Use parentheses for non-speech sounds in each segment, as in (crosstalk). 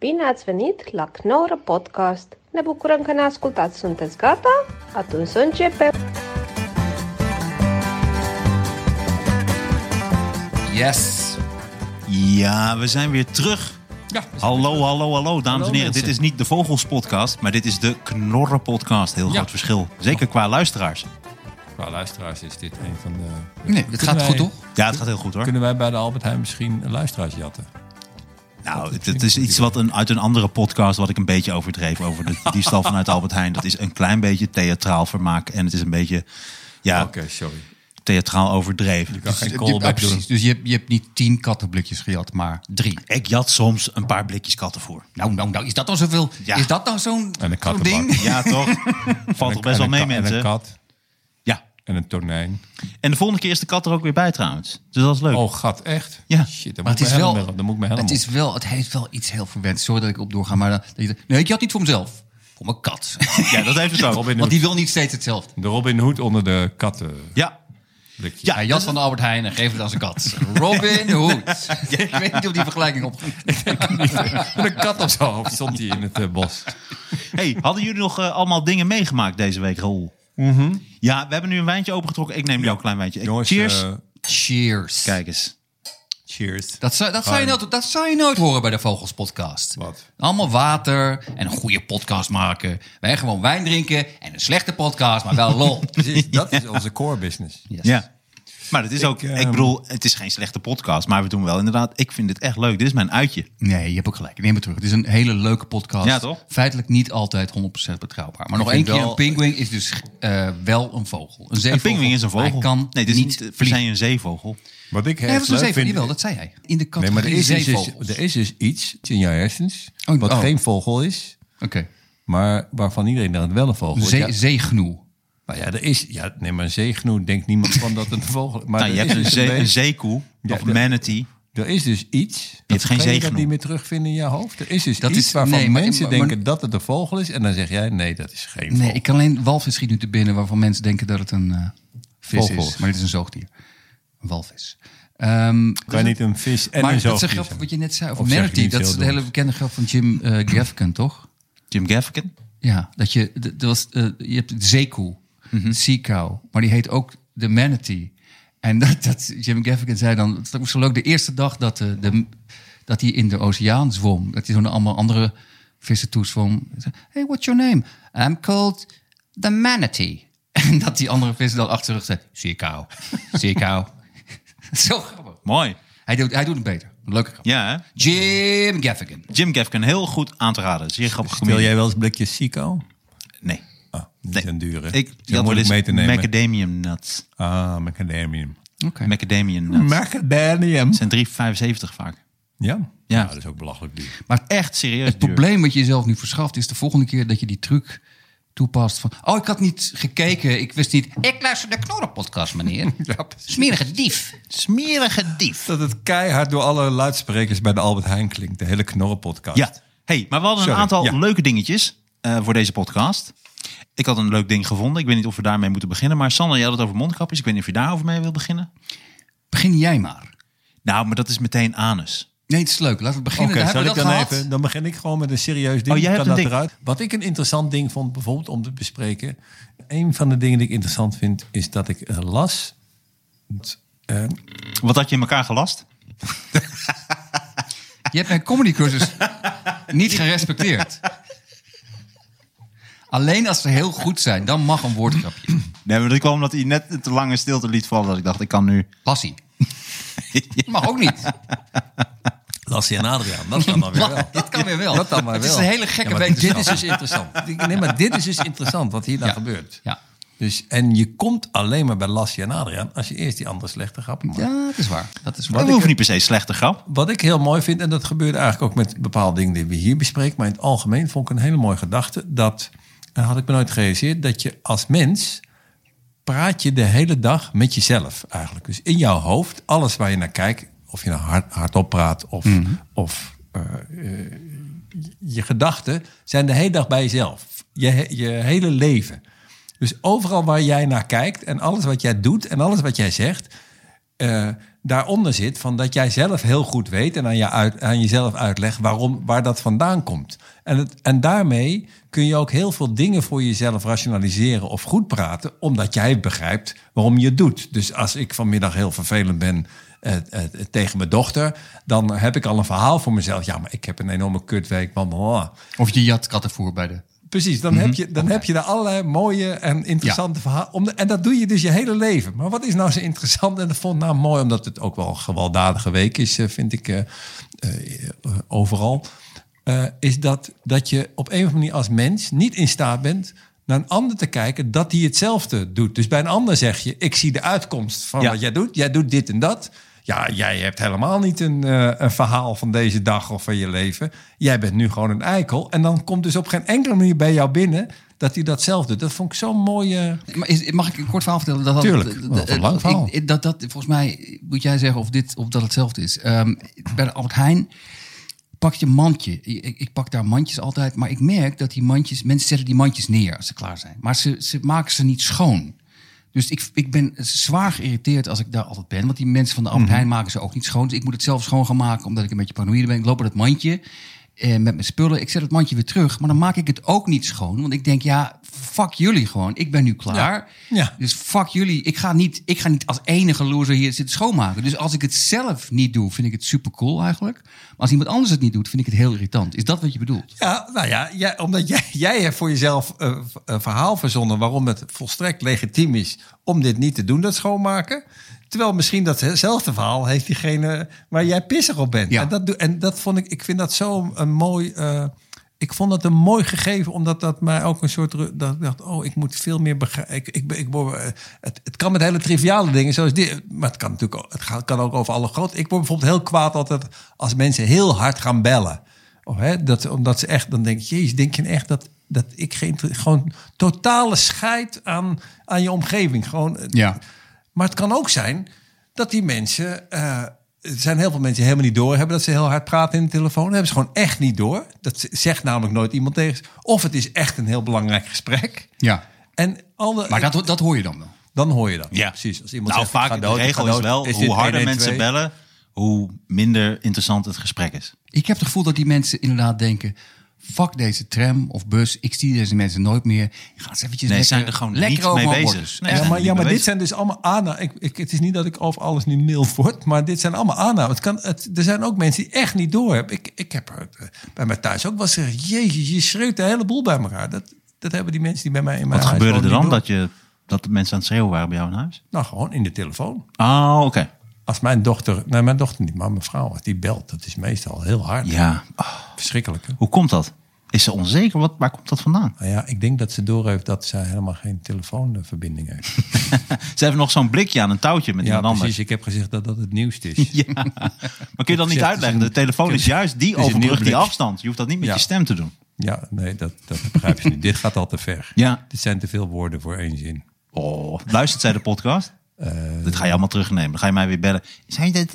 Bine ați venit la Knorr Podcast! Ne bucurăm că ne ascultați! Sunteți gata? Atunci să începem! Yes. Ja, we zijn weer terug. Ja, dus- Hallo, hallo, hallo, dames Hallo, en heren. mensen. Dit is niet de Vogelspodcast, maar dit is de Knorrenpodcast. Heel Ja. groot verschil. Zeker qua luisteraars. Qua Nou, luisteraars is dit een van de... Nee, het Kunnen gaat wij- goed, toch? Ja, het gaat heel goed hoor. Kunnen wij bij de Albert Heijn misschien luisteraars jatten? nou, het, het is iets wat een, uit een andere podcast wat ik een beetje overdreef over de diefstal vanuit Albert Heijn. Dat is een klein beetje theatraal vermaak en het is een beetje ja, Oké, sorry. theatraal overdreven. Ik kan Dus geen je- callback ah, doen. precies. Dus je, hebt- je hebt niet tien kattenblikjes gejat, maar drie. Ik jat soms een paar blikjes kattenvoer. Nou, nou, nou, is dat nou zoveel? Ja. Is dat nou zo'n En een zo'n kattenbak. ding? Ja, toch? Valt (laughs) En toch best wel een mee, ka- En een mensen? kat Ja. en een tonijn. En de volgende keer is de kat er ook weer bij trouwens. Dus dat is leuk. Oh, gat, echt? Ja. Shit, dan Maar moet, het is wel, wel, dan moet ik mijn helm het is wel, het heeft wel iets heel verwend. Sorry dat ik op doorga, maar dat je- nee, ik had niet voor mezelf, voor mijn (laughs) kat. Ja, dat heeft het ook. Robin Want Hood. die wil niet steeds hetzelfde. De Robin Hood onder de katten. Ja, (laughs) Ja. Hij jas van de Albert Heijn en geef het aan zijn (laughs) kat. Robin Hood. (laughs) Ik weet niet of die vergelijking op. Met een kat op zijn hoofd stond hij in het eh, bos. Hey, hadden jullie nog eh, allemaal dingen meegemaakt deze week, Roel? Ja, we hebben nu een wijntje opengetrokken. Ik neem jou een klein wijntje. Ik- Mhm. Jongens, cheers. eh, Cheers. Kijk eens. cheers. Dat zou, dat, zou je nooit, dat zou je nooit horen bij de Vogelspodcast. Wat? Allemaal water en een goede podcast maken. Wij gewoon wijn drinken en een slechte podcast, maar wel (laughs) lol. Precies, dat is onze core business. Yes. Ja. Maar het is ook, eh, ik bedoel, het is geen slechte podcast, maar we doen wel inderdaad. Ik vind dit echt leuk. Dit is mijn uitje. Nee, je hebt ook gelijk. Ik neem het terug. Het is een hele leuke podcast. Ja, toch? Feitelijk niet altijd 100% betrouwbaar. Maar nog één vind keer, wel- een pinguïn is dus eh, wel een vogel. Een Een zeevogel. pinguïn is maar een vogel. Hij kan nee, dit is niet, niet we vliegen. zijn een zeevogel. Wat ik Nee, heel dat was een leuk zeevogel. vind... Jawel, dat zei hij. In de Nee, categorie maar er is, dus- zeevogels. er is dus iets in jouw hersens... Oh, wat oh. geen vogel is... Oké. Maar waarvan iedereen dat het wel een vogel is. Zee, Ja, Zeegnoe. nou ja, er is, ja, nee, maar een zeegnoe denkt niemand van dat het een vogel is. Maar Nou, je er, hebt is een, dus zee, een beetje- zeekoe Ja, of dat- manatee. er is dus iets. Je hebt geen dat zeegnoe. niet meer terugvinden in je hoofd. Er is dus Dat iets is- waarvan nee, maar- mensen maar- maar- denken dat het een vogel is. En dan zeg jij, nee, dat is geen vogel. Nee, ik kan alleen walvis schiet nu te binnen waarvan mensen denken dat het een eh, vis Vogel. is. Maar dit is een zoogdier. Een walvis. Ehm kan je niet een vis en maar dat een is een zoogdier grap zijn? wat je net zei over Of zeg ik Manatee. niet Dat is veel de hele bekende grap van Jim eh Gaffigan, toch? Jim Gaffigan. Ja, dat je, d- dat was, eh, je hebt de zeekoe, de seacow, maar die heet ook de manatee. En (laughs) dat, dat Jim Gaffigan zei dan, dat was zo leuk, de eerste dag dat, de, de, dat hij in de oceaan zwom, dat hij zo'n allemaal andere vissen toezwom. Hij zei, Hey, what's your name? I'm called the manatee. (laughs) En dat die andere vissen dan achter zich zei, seacow, (laughs) seacow. zo grappig. Mooi. Hij doet, hij doet het beter. Leuke grap. Ja, hè? Jim Gaffigan. Jim Gaffigan, heel goed aan te raden. Zeer grappig Wil comedian. jij wel eens blikjes Sico? Nee. Ah, niet nee. een dure. Ik Zijn had wel moeilijk eens mee te nemen. macadamium nuts. ah, macadamium. Oké. Macadamium nuts. Macadamium. zijn 3,75 vaak. Ja? Ja. Nou, dat is ook belachelijk duur. Maar Echt serieus Het duur. probleem wat je jezelf nu verschaft is de volgende keer dat je die truc toepast van... Oh, ik had niet gekeken, ik wist niet... Ik luister de Knorrenpodcast, (laughs) meneer. Smerige dief. Smerige dief. Dat het keihard door alle luidsprekers bij de Albert Heijn klinkt. De hele knorrenpodcast. Ja. Hey, maar we hadden Sorry, een aantal ja. leuke dingetjes eh, voor deze podcast. Ik had een leuk ding gevonden. Ik weet niet of we daarmee moeten beginnen. Maar Sander, je had het over mondkapjes. Ik weet niet of je daarover mee wil beginnen. Begin jij maar. Nou, maar dat is meteen anus. Nee, het is leuk. Laten we beginnen. Oké, Daar zal hebben we ik dat dan gehad. even? Dan begin ik gewoon met een serieus ding. Oh, jij Kan hebt een dat ding. eruit? Wat ik een interessant ding vond, bijvoorbeeld om te bespreken. Een van de dingen die ik interessant vind, is dat ik eh, las. eh, Wat had je in elkaar gelast? Je hebt mijn (laughs) comedycursus niet gerespecteerd. Alleen als ze heel goed zijn, dan mag een woordgrapje. Nee, maar dat kwam omdat hij net een te lange stilte liet vallen. Dat ik dacht, ik kan nu... (laughs) Lassie. Mag ook niet. Lassie en Adriaan, dat kan (laughs) dan weer wel. Dat kan weer wel. Dat dan maar Het wel. is een hele gekke Ja, maar wetenschap. Dit is dus interessant. Ik- Nee, maar dit is dus interessant wat hier dan Ja. gebeurt. Ja. Dus, en je komt alleen maar bij Lassie en Adriaan als je eerst die andere slechte grappen maakt. Ja, dat is waar. Dat is Dat waar. hoeft niet per se slechte grap. Wat ik heel mooi vind, en dat gebeurt eigenlijk ook met bepaalde dingen die we hier bespreken, maar in het algemeen vond ik een hele mooie gedachte. Dat eh, had ik me nooit gerealiseerd, dat je als mens praat je de hele dag met jezelf eigenlijk. Dus in jouw hoofd, alles waar je naar kijkt, of je nou hard, hardop praat of, of eh, eh, je gedachten, zijn de hele dag bij jezelf. Je, he- je hele leven. Dus overal waar jij naar kijkt en alles wat jij doet en alles wat jij zegt, eh, eh, daaronder zit van dat jij zelf heel goed weet en aan, je uit, aan jezelf uitlegt waarom, waar dat vandaan komt. En, het, en daarmee kun je ook heel veel dingen voor jezelf rationaliseren of goed praten, omdat jij begrijpt waarom je het doet. Dus als ik vanmiddag heel vervelend ben eh, eh, tegen mijn dochter, dan heb ik al een verhaal voor mezelf. Ja, maar ik heb een enorme kutweek, oh, bla, bla, bla. Of je jat kattenvoer bij de... Precies, dan, heb, je, dan heb je daar allerlei mooie en interessante verhalen. Om de- en dat doe je dus je hele leven. Maar wat is nou zo interessant? En dat vond ik nou mooi, omdat het ook wel een gewelddadige week is, eh, vind ik, eh, eh, eh, overal. Eh, is dat, dat je op een of andere manier als mens niet in staat bent naar een ander te kijken dat die hetzelfde doet. Dus bij een ander zeg je, ik zie de uitkomst van Ja. wat jij doet. Jij doet dit en dat. Ja, jij hebt helemaal niet een, eh, een verhaal van deze dag of van je leven. Jij bent nu gewoon een eikel. En dan komt dus op geen enkele manier bij jou binnen dat hij dat zelf doet. Dat vond ik zo'n mooie... Maar is- mag ik een kort verhaal vertellen? Dat had- Tuurlijk, dat- wel een lang ik- verhaal. ik- dat, dat, volgens mij moet jij zeggen of, dit, of dat hetzelfde is. Ehm, bij de Albert Heijn pak je een mandje. Ik, ik- ik pak daar mandjes altijd. Maar ik merk dat die mandjes... Mensen zetten die mandjes neer als ze klaar zijn. Maar ze, ze maken ze niet schoon. Dus ik, ik ben zwaar geïrriteerd als ik daar altijd ben. Want die mensen van de Mhm. Albert Heijn maken ze ook niet schoon. Dus ik moet het zelf schoon gaan maken omdat ik een beetje paranoïde ben. Ik loop met het mandje eh, met mijn spullen. Ik zet het mandje weer terug. Maar dan maak ik het ook niet schoon. Want ik denk, ja, fuck jullie gewoon. Ik ben nu klaar. Ja, ja. Dus fuck jullie. Ik ga, niet, ik ga niet als enige loser hier zitten schoonmaken. Dus als ik het zelf niet doe, vind ik het super cool eigenlijk. Maar als iemand anders het niet doet, vind ik het heel irritant. Is dat wat je bedoelt? Ja, nou ja, jij, omdat jij, (laughs) jij hebt voor jezelf eh, v- een verhaal verzonnen waarom het volstrekt legitiem is om dit niet te doen, dat schoonmaken. Terwijl misschien datzelfde verhaal heeft diegene waar jij pissig op bent. Ja. En, dat, doe- en dat vond ik, ik vind dat zo een mooi. eh, ik vond dat een mooi gegeven, omdat dat mij ook een soort. ru- Dat ik dacht, oh, ik moet veel meer begrijpen. Ik, ik, ben- ik, word, eh, het, het kan met hele triviale dingen, zoals dit. Maar het kan natuurlijk ook, het gaat- kan ook over alle grote. Ik word bijvoorbeeld heel kwaad altijd als mensen heel hard gaan bellen. Oh, hè, dat, omdat ze echt, dan denk ik, jezus, denk je nou echt dat, dat ik geen, gewoon totale scheid aan, aan je omgeving. Gewoon, eh, Ja. Maar het kan ook zijn dat die mensen, eh, er zijn heel veel mensen die helemaal niet door hebben dat ze heel hard praten in de telefoon. Dat hebben ze gewoon echt niet door. Dat zegt namelijk nooit iemand tegen ze. Of het is echt een heel belangrijk gesprek. Ja. En alle, Maar dat, dat hoor je dan wel. dan hoor je dat. Ja. precies. Als iemand Nou, zegt, ik ga vaak de dood, ik regel ga is dood, wel, dit hoe harder 112? mensen bellen, hoe minder interessant het gesprek is. Ik heb het gevoel dat die mensen inderdaad denken... fuck deze tram of bus, ik zie deze mensen nooit meer. Ik ga eens eventjes Nee, lekker, zijn er gewoon lekker niet over mee mijn bezig. wortels. Nee, Echt. Ja, zijn maar, niet ja, maar bewezen. dit zijn dus allemaal aannames. Ik, ik, het is niet dat ik over alles nu mild word, maar dit zijn allemaal aannames. Het kan, het, er zijn ook mensen die echt niet door hebben. Ik, ik heb er, eh, bij mij thuis ook wel eens gezegd, jezus, je schreeuwt de hele boel bij elkaar. Dat, dat hebben die mensen die bij mij in mijn Wat huis gebeurde er wonen dan niet dat, je, dat de mensen aan het schreeuwen waren bij jou in huis? door. Nou, gewoon in de telefoon. Oh, oké. Als mijn dochter, nee, mijn dochter niet, maar mijn vrouw, als die belt, dat is meestal heel hard. Ja. Ah, Verschrikkelijk. hè? hoe komt dat? Is ze onzeker? Wat, waar komt dat vandaan? Nou ja, ik denk dat ze door heeft dat ze helemaal geen telefoonverbinding (laughs) heeft. Ze hebben nog zo'n blikje aan een touwtje met Ja, iemand precies. anders. Ik heb gezegd dat dat het nieuwste (laughs) is. Maar kun je dat niet Ja, het is uitleggen? De een- telefoon het is is- juist die het is een overbrug, die nieuw blik. afstand. Je hoeft dat niet met Ja. je stem te doen. Ja, nee, dat, dat begrijp je niet. Dit gaat al te ver. Ja. Dit zijn te veel woorden voor één zin. Oh, luistert zij de podcast? Eh. dat ga je allemaal terugnemen. Dan ga je mij weer bellen. Zijn dat,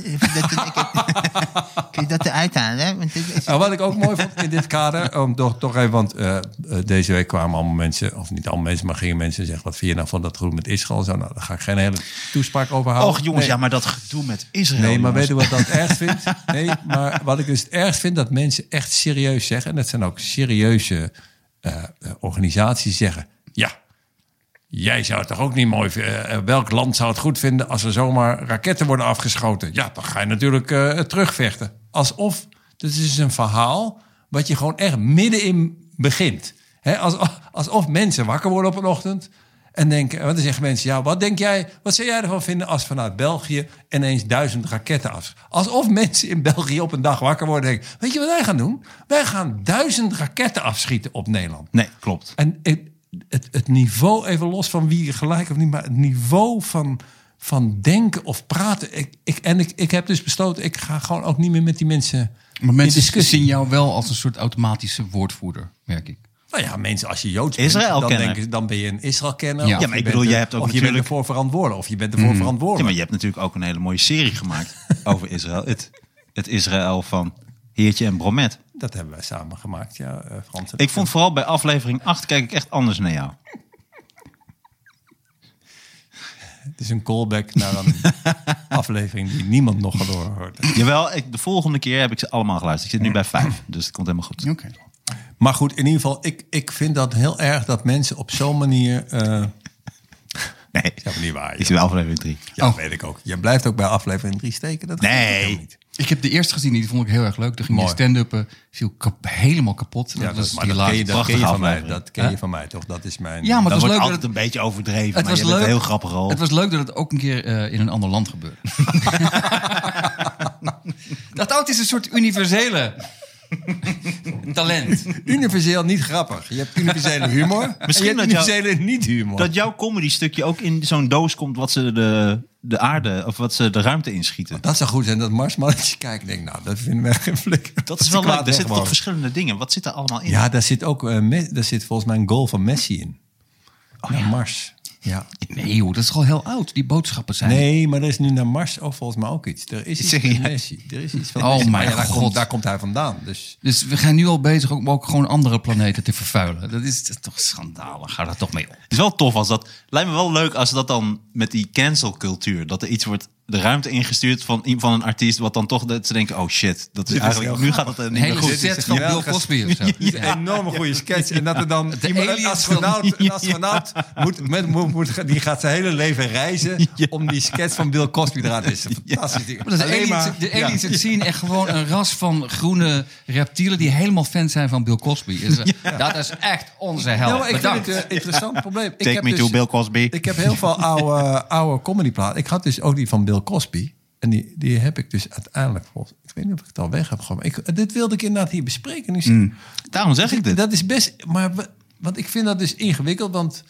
(laughs) kun je dat eruit halen? Want dit is... Nou, wat ik ook mooi vond in dit kader, om toch, toch even, want eh, eh, deze week kwamen allemaal mensen, of niet allemaal mensen, maar gingen mensen zeggen, wat vind je nou van dat groen met Israël? en Zo, nou, daar ga ik geen hele toespraak over houden. Och jongens, Oh, Nee. ja, maar dat gedoe met Israël. Nee, maar weet jongens. je wat ik dat erg vind? Nee, maar wat ik dus het ergst vind, dat mensen echt serieus zeggen, en dat zijn ook serieuze eh, eh, organisaties zeggen, ja, jij zou het toch ook niet mooi vinden, eh, eh, welk land zou het goed vinden als er zomaar raketten worden afgeschoten? Ja, dan ga je natuurlijk eh, terugvechten. Alsof, dit is dus een verhaal wat je gewoon echt middenin begint. Hè, als, alsof mensen wakker worden op een ochtend en denken, want dan zeggen mensen, ja, wat denk jij, wat zou jij ervan vinden als vanuit België ineens duizend raketten af? Alsof mensen in België op een dag wakker worden en denken, weet je wat wij gaan doen? Wij gaan duizend raketten afschieten op Nederland. Nee, klopt. En het, het, het niveau, even los van wie je gelijk of niet, maar het niveau van, van denken of praten. Ik, ik, en ik, ik heb dus besloten, ik ga gewoon ook niet meer met die mensen. Maar in mensen discussie. zien jou wel als een soort automatische woordvoerder, merk ik. Nou ja, mensen, als je Joods bent, dan, Israël-kenner. denken ze, dan ben je een Israël-kenner. Ja. Mm. of Ja, je maar ik bent bedoel, jij er- hebt ook Of je bent natuurlijk- ervoor verantwoordelijk, of je bent ervoor Ja, maar verantwoordelijk. je hebt natuurlijk ook een hele mooie serie gemaakt (laughs) over Israël. Het, het Israël van Heertje en Bromet. Dat hebben wij samen gemaakt, ja, eh, Frans. Ik vond vooral bij aflevering 8 kijk ik echt anders naar jou. Het is een callback naar (laughs) een aflevering die niemand nog verloren hoort. Jawel, ik, de volgende keer heb ik ze allemaal geluisterd. Ik zit nu bij vijf, dus het komt helemaal goed. Oké. Maar goed, in ieder geval, ik, ik vind dat heel erg dat mensen op zo'n manier. eh Nee, ja, maar niet waar. ik Ja, zie wel aflevering drie. Ja, Oh. weet ik ook. Je blijft ook bij aflevering 3 steken. Dat Nee. geloof ik helemaal niet. Ik heb de eerste gezien, die vond ik heel erg leuk. Toen ging die Mooi. stand-uppen, viel kap- helemaal kapot. Ja, dat, maar die dat ken je, laatste. dat ken je van mij. aflevering. Dat ken je van mij toch? Dat is mijn. Ja, maar Dat het was wordt leuk. altijd Dat het, een beetje overdreven, het maar was je bent leuk. heel grappig al. het was leuk dat het ook een keer eh, in een ander land gebeurde. (laughs) dat oud is een soort universele (laughs) talent. universeel niet grappig. Je hebt universele humor. Misschien Misschien je hebt dat jou- universele niet-humor. Dat jouw comedy stukje ook in zo'n doos komt wat ze de, de aarde of wat ze de ruimte inschieten. Dat zou goed zijn dat Marsmannetje kijkt en denkt, nou, dat vinden we echt geen flikker. Dat is wel leuk. Er zitten toch toch verschillende dingen. Wat zit er allemaal in? Ja, daar zit ook eh, Me- daar zit volgens mij een goal van Messi in. naar Mars. Ja. Nee joh, dat is gewoon heel oud. Die boodschappen zijn... Nee, maar er is nu naar Mars ook volgens mij ook iets. Er is iets zeg van je? Messi. Er is iets van Oh Messi. mijn ja, daar God. Komt, daar komt hij vandaan. Dus Dus we gaan nu al bezig om ook gewoon andere planeten te vervuilen. Dat is, dat is toch schandalig. Ga daar toch mee op. Het is wel tof als dat. Lijkt me wel leuk als dat dan met die cancelcultuur. Dat er iets wordt de ruimte ingestuurd van, i- van een artiest. Wat dan toch dat ze denken: oh shit, dat is eigenlijk. heel nu gaat dat eh, niet Een meer hele goed. dit is set van echt Bill geweldig. Cosby of zo. een enorme goede sketch. En dat er (laughs) dan iemand, een aliens astronaut, een astronaut moet, met- moet, moet- die gaat zijn hele leven (laughs) reizen om die sketch van Bill Cosby te laten. Dat is (laughs) een fantastisch ding. Maar dat de Alleen aliens, maar- de ja. aliens het zien echt gewoon een ras van groene reptielen... die helemaal fan zijn van Bill Cosby. (laughs) Dus, eh, Dat is echt onze held. Ja, maar Nou, ik Bedankt. vind het eh, een interessant probleem. ik Take heb me dus- to Bill Cosby. Ik heb heel (laughs) veel oude, oude comedyplaten. Ik had dus ook die van Bill Cosby. En die, die heb ik dus uiteindelijk... volgens- Ik weet niet of ik het al weg heb gegooid. maar Ik, dit wilde ik inderdaad hier bespreken. Nu zie- Daarom zeg ik dit. Dat is best... Maar we- want ik vind dat dus ingewikkeld. Want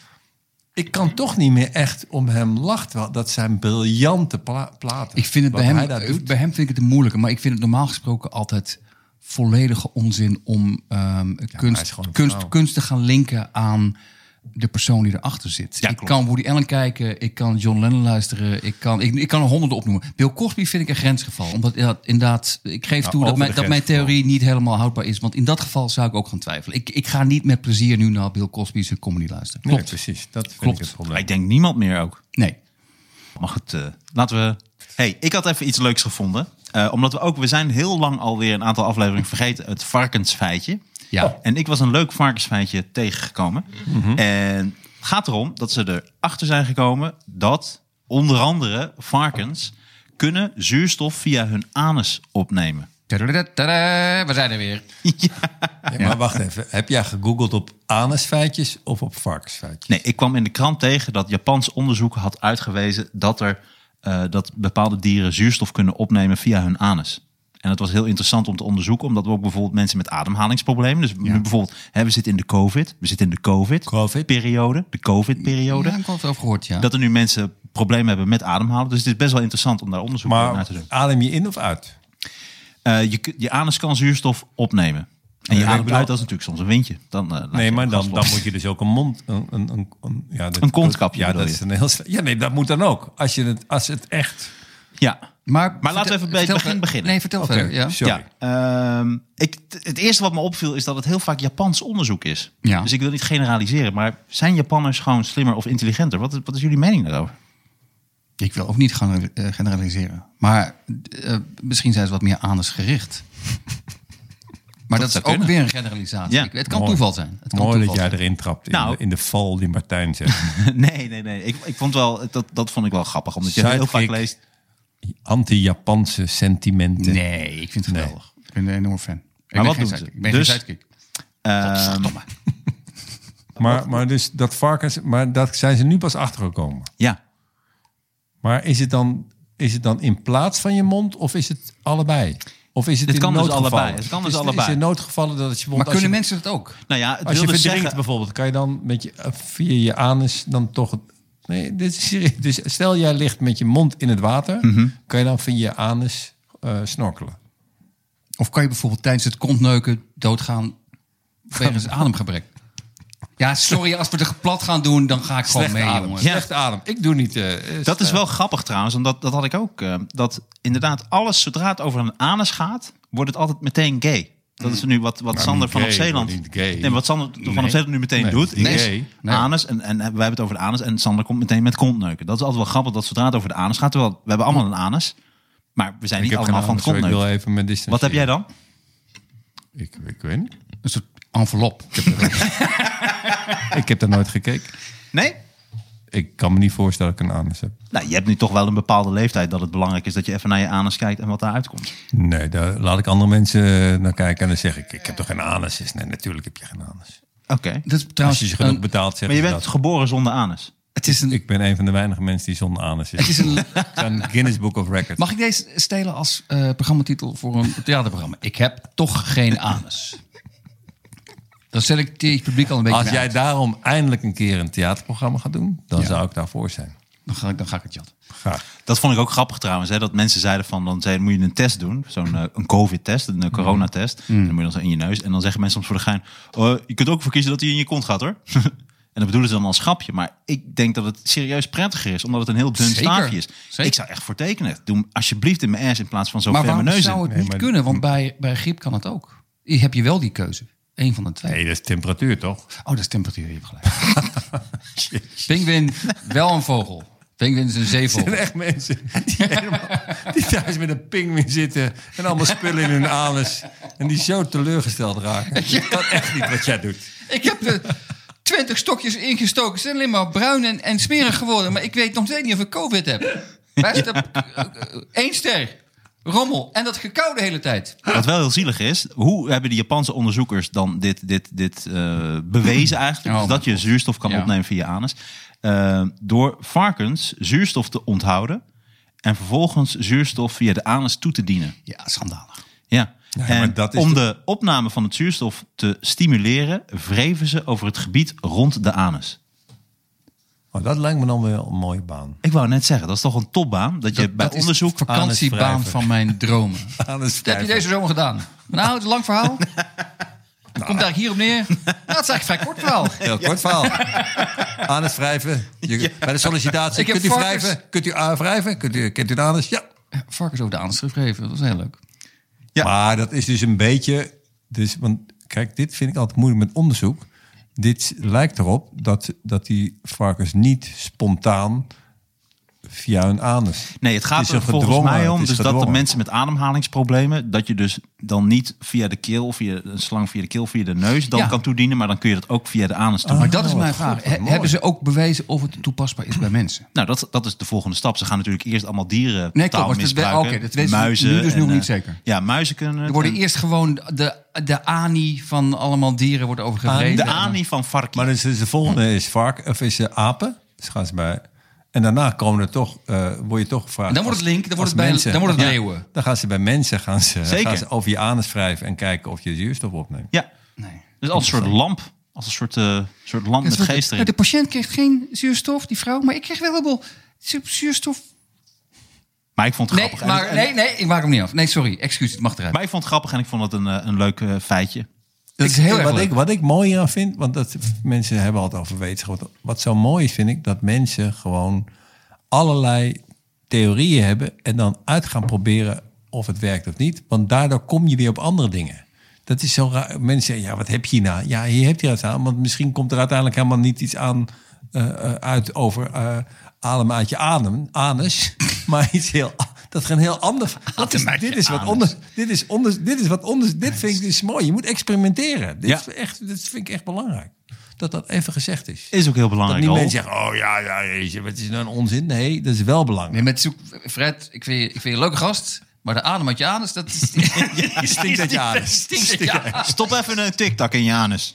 ik kan toch niet meer echt om hem lachen. terwijl Dat zijn briljante pla- platen. Ik vind het Wat bij hem, hij daar doet. bij hem vind ik het een moeilijke. Maar ik vind het normaal gesproken altijd volledige onzin om ehm, hij is kunst, gewoon een kunst, vrouw. kunst te gaan linken aan de persoon die erachter zit. ik klopt. kan Woody Allen kijken, ik kan John Lennon luisteren, ik kan, ik, ik kan er honderden opnoemen. Bill Cosby vind ik een grensgeval. Omdat ja, inderdaad, ik geef toe dat over mijn, de dat mijn grensgeval. theorie niet helemaal houdbaar is. Want in dat geval zou ik ook gaan twijfelen. Ik, ik ga niet met plezier nu naar Bill Cosby zijn comedy luisteren. Nee, Klopt. precies. Dat vind Klopt. ik het Maar probleem. ik denk niemand meer ook. Nee. Maar goed, eh, laten we. Hey, ik had even iets leuks gevonden. Eh, omdat we ook, we zijn heel lang alweer een aantal afleveringen vergeten. Het varkensfeitje. Ja. En ik was een leuk varkensfeitje tegengekomen. En het gaat erom dat ze erachter zijn gekomen dat onder andere varkens kunnen zuurstof via hun anus opnemen. Tadadadada, We zijn er weer. Ja, maar wacht even. Heb jij gegoogeld op anusfeitjes of op varkensfeitjes? Nee, ik kwam in de krant tegen dat Japans onderzoek had uitgewezen dat er eh, dat bepaalde dieren zuurstof kunnen opnemen via hun anus. En dat was heel interessant om te onderzoeken, omdat we ook bijvoorbeeld mensen met ademhalingsproblemen. Dus nu bijvoorbeeld, hè, we zitten in de COVID. We zitten in de COVID. COVID-periode. De COVID-periode. Ja, ik had het over gehoord, ja. Dat er nu mensen problemen hebben met ademhalen. Dus het is best wel interessant om daar onderzoek naar Maar te doen. adem je in of uit? Eh, je, kun- je anus kan zuurstof opnemen. En je Ja, ik ademt bedoel- uit, dat is natuurlijk soms een windje. Dan, eh, laat Nee, je maar dan, gas dan los. moet je dus ook een mond... Een, een, een, een- ja, dat, Een kontkapje Ja, bedoel dat je? is een heel... sle- Ja, nee, dat moet dan ook. Als, je het, als het echt... Ja. Maar, Maar laten we even bij het vertel- begin beginnen. Nee, vertel verder. Ja. sorry. Ja, ehm, ik, t- het eerste wat me opviel is dat het heel vaak Japans onderzoek is. Ja. Dus ik wil niet generaliseren, maar zijn Japanners gewoon slimmer of intelligenter? Wat, is- wat is jullie mening daarover? Ik wil ook niet gaan eh, generaliseren. Maar eh, misschien zijn ze wat meer anusgericht. (laughs) maar dat, zou is ook kunnen. weer een generalisatie. Ja. Ik- Het kan Mooi. toeval zijn. Het kan Mooi dat toeval jij zijn. erin trapt in, Nou. de, in de val die Martijn zegt. nee, nee, nee. Ik, ik vond wel, dat, dat vond ik wel grappig, omdat je heel vaak Sidekick. leest. Anti-Japanse sentimenten. Nee, ik vind het geweldig. Ik ben een enorm fan. Maar ik ben wat geen doen ze? sidekick. Ik ben Dus- geen sidekick. ehm, Maar, maar dus dat varkens... Maar dat zijn ze nu pas achtergekomen. ja, Maar is het dan, is het dan in plaats van je mond of is het allebei? Of is het Dit in kan dus noodgevallen? allebei. Het kan dus is, allebei. Is in noodgevallen dat het je mond... Maar als kunnen je- mensen dat ook? nou ja, het Als je wilde verdrinkt zeggen. bijvoorbeeld, kan je dan met je, eh, via je anus dan toch... het- Nee, dit is serieus. (laughs) Dus stel jij ligt met je mond in het water, Mhm. kan je dan via je anus eh, snorkelen. Of kan je bijvoorbeeld tijdens het kontneuken doodgaan (laughs) wegens ademgebrek? Ja, sorry, als we er plat gaan doen, dan ga ik gewoon mee, adem. jongens. Slechte adem. Ik doe niet... eh, Dus Dat is eh, wel grappig trouwens, omdat dat had ik ook. eh, dat inderdaad alles, zodra het over een anus gaat, wordt het altijd meteen gay. Dat is nu wat, wat Hmm. Maar Sander niet vanaf gay, Zeeland. niet gay. Nee, wat Sander vanaf Nee. Zeeland nu meteen Nee, doet. niet is gay. Nee. Anus. En, en we hebben het over de anus. En Sander komt meteen met kontneuken. Dat is altijd wel grappig dat zodra het over de anus gaat. Terwijl we hebben allemaal een anus. Maar we zijn Ik niet heb geen allemaal van aandacht, het zo ik wil kontneuken. even me distancieren. Wat heb jij dan? Ik, ik weet niet. Een soort envelop. Ik heb daar nooit gekeken. Nee? Ik kan me niet voorstellen dat ik een anus heb. Nou, je hebt nu toch wel een bepaalde leeftijd dat het belangrijk is dat je even naar je anus kijkt en wat daaruit komt. Nee, daar laat ik andere mensen naar kijken en dan zeg ik, ik heb toch geen anus? Is, nee, natuurlijk heb je geen anus. Oké. Dat is Als trouwens je ze genoeg een- betaalt, zeg Maar je bent dat. geboren zonder anus. het is een, Ik ben een van de weinige mensen die zonder anus is. het is een Een Guinness Book of Records. Mag ik deze stelen als eh, programmatitel voor een theaterprogramma? Ik heb toch geen anus. Dan selecteer je het publiek al een beetje Als mee jij uit. daarom eindelijk een keer een theaterprogramma gaat doen, dan zou ik daarvoor zijn. Dan ga, ik, dan ga ik het jatten. Graag. Dat vond ik ook grappig trouwens. Hè? Dat mensen zeiden van, dan zeiden, moet je een test doen. Zo'n eh, een covid-test, Mm. een eh, coronatest. En Dan moet je dan zo in je neus. En dan zeggen mensen soms voor de gein, oh, je kunt er ook voor kiezen dat hij in je kont gaat hoor. (laughs) en dat bedoelen ze dan als grapje. Maar ik denk dat het serieus prettiger is. Omdat het een heel dun Zeker. staafje is. Zeker. Ik zou echt voor tekenen. Doe hem alsjeblieft in mijn ass in plaats van zo Maar ver mijn waarom neus zou in. het nou niet kunnen? Want bij, bij griep kan het ook. Je- Heb je wel die keuze. Eén van de twee. Nee, dat is temperatuur toch? Oh, dat is temperatuur. Je hebt gelijk. (laughs) Pinguïn, wel een vogel. Pinguïn is een Het zijn zeevogel. echt mensen die, helemaal- die thuis met een pinguïn zitten en allemaal spullen in hun anus. En die zo teleurgesteld raken. Dat kan echt niet wat jij doet. Ik heb er twintig stokjes ingestoken. Ze zijn alleen maar bruin en, en smerig geworden. Maar ik weet nog steeds niet of ik COVID heb. Waar is dat? Eén ster. Rommel. En dat gekauw de hele tijd. Wat wel heel zielig is, hoe hebben die Japanse onderzoekers dan dit, dit, dit eh, bewezen eigenlijk? Oh, dus dat je zuurstof kan Ja. opnemen via je anus. Eh, door varkens zuurstof te onthouden en vervolgens zuurstof via de anus toe te dienen. Ja, schandalig. Ja. en maar dat is om de opname van het zuurstof te stimuleren, wreven ze over het gebied rond de anus. Maar Oh, dat lijkt me dan wel een mooie (laughs) baan. Ik wou net zeggen, dat is toch een topbaan? Dat je bij dat onderzoek... is de vakantiebaan anuswrijver. van mijn dromen. Anus Dat heb je deze zomer gedaan. Nou, het is een lang verhaal. Komt daar hierop neer. Nou, het is eigenlijk een vrij kort verhaal. Heel kort (laughs) verhaal. Anus wrijven. Je- Bij de sollicitatie. Ik heb Kunt u varkens. wrijven? Kunt u ah, wrijven? Kunt u, kent u de anus? Ja. Varkens over de aanschrift geschreven. Dat was heel leuk. Ja. Maar dat is dus een beetje. Dus, want kijk, dit vind ik altijd moeilijk met onderzoek. Dit lijkt erop dat, dat die varkens niet spontaan via hun anus. Nee, het gaat Het is er een volgens gedwongen, mij om het is dus dat de gedwongen. mensen met ademhalingsproblemen, dat je dus dan niet via de keel, via een slang via de keel, via de neus dan Ja. kan toedienen, maar dan kun je dat ook via de anus doen. Maar dat is mijn wat vraag. goed, wat He- mooi. Hebben ze ook bewezen of het toepasbaar is bij mensen? Nou, dat, dat is de volgende stap. Ze gaan natuurlijk eerst allemaal dieren maar taal dat- misbruiken. oké, dat weten ze muizen nu dus en, nog niet eh, zeker. Ja, muizen kunnen. Er het worden en- eerst gewoon de, de ANI van allemaal dieren wordt overgevreden. Ah, de ani van varken. Maar dus, dus de volgende is vark of is eh, apen. Dus gaan ze bij. En daarna komen er toch, eh, word je toch gevraagd. En dan wordt het als- link, dan als wordt het bij- mensen- dan wordt het Ja. leeuwen. Dan gaan ze bij mensen gaan ze, Zeker. gaan ze over je anus wrijven en kijken of je zuurstof opneemt. Ja, Nee. dus als een soort lamp. Als een soort, eh, soort lamp met geest Ja, erin. de patiënt kreeg geen zuurstof, die vrouw. Maar ik kreeg wel helemaal zu- zuurstof. Maar ik vond het Nee, grappig. En maar, ik- en- nee, nee, ik maak hem niet af. Nee, sorry. Excuus, het mag eruit. Maar ik vond het grappig en ik vond het een, eh, een leuk eh, feitje. dat is heel erg wat, leuk. ik, wat ik mooi aan vind, want dat, mensen hebben altijd over wetenschap. Wat, wat zo mooi is, vind ik, dat mensen gewoon allerlei theorieën hebben en dan uit gaan proberen of het werkt of niet. Want daardoor kom je weer op andere dingen. Dat is zo raar. Mensen zeggen, ja, wat heb je nou? Ja, hier heb je iets aan, want misschien komt er uiteindelijk helemaal niet iets aan eh, eh, uit over eh adem uit je adem, anus, (laughs) maar iets heel... Dat is een heel ander. Dat is, uit je dit is wat anus. anders. Dit is onder, dit is wat onder, dit vind ik dus mooi. Je moet experimenteren. Dit, Ja. is echt, dit vind ik echt belangrijk. Dat dat even gezegd is. Is ook heel belangrijk. Dat niet al. mensen zeggen, oh ja, ja, jeetje, wat is nou een onzin? Nee, dat is wel belangrijk. Nee, met zoek, Fred, ik vind, je, ik vind je een leuke gast. Maar de adem uit je anus, dat (laughs) is... Je stinkt uit je anus. stinkt uit je anus. Stop even een tiktak in je anus.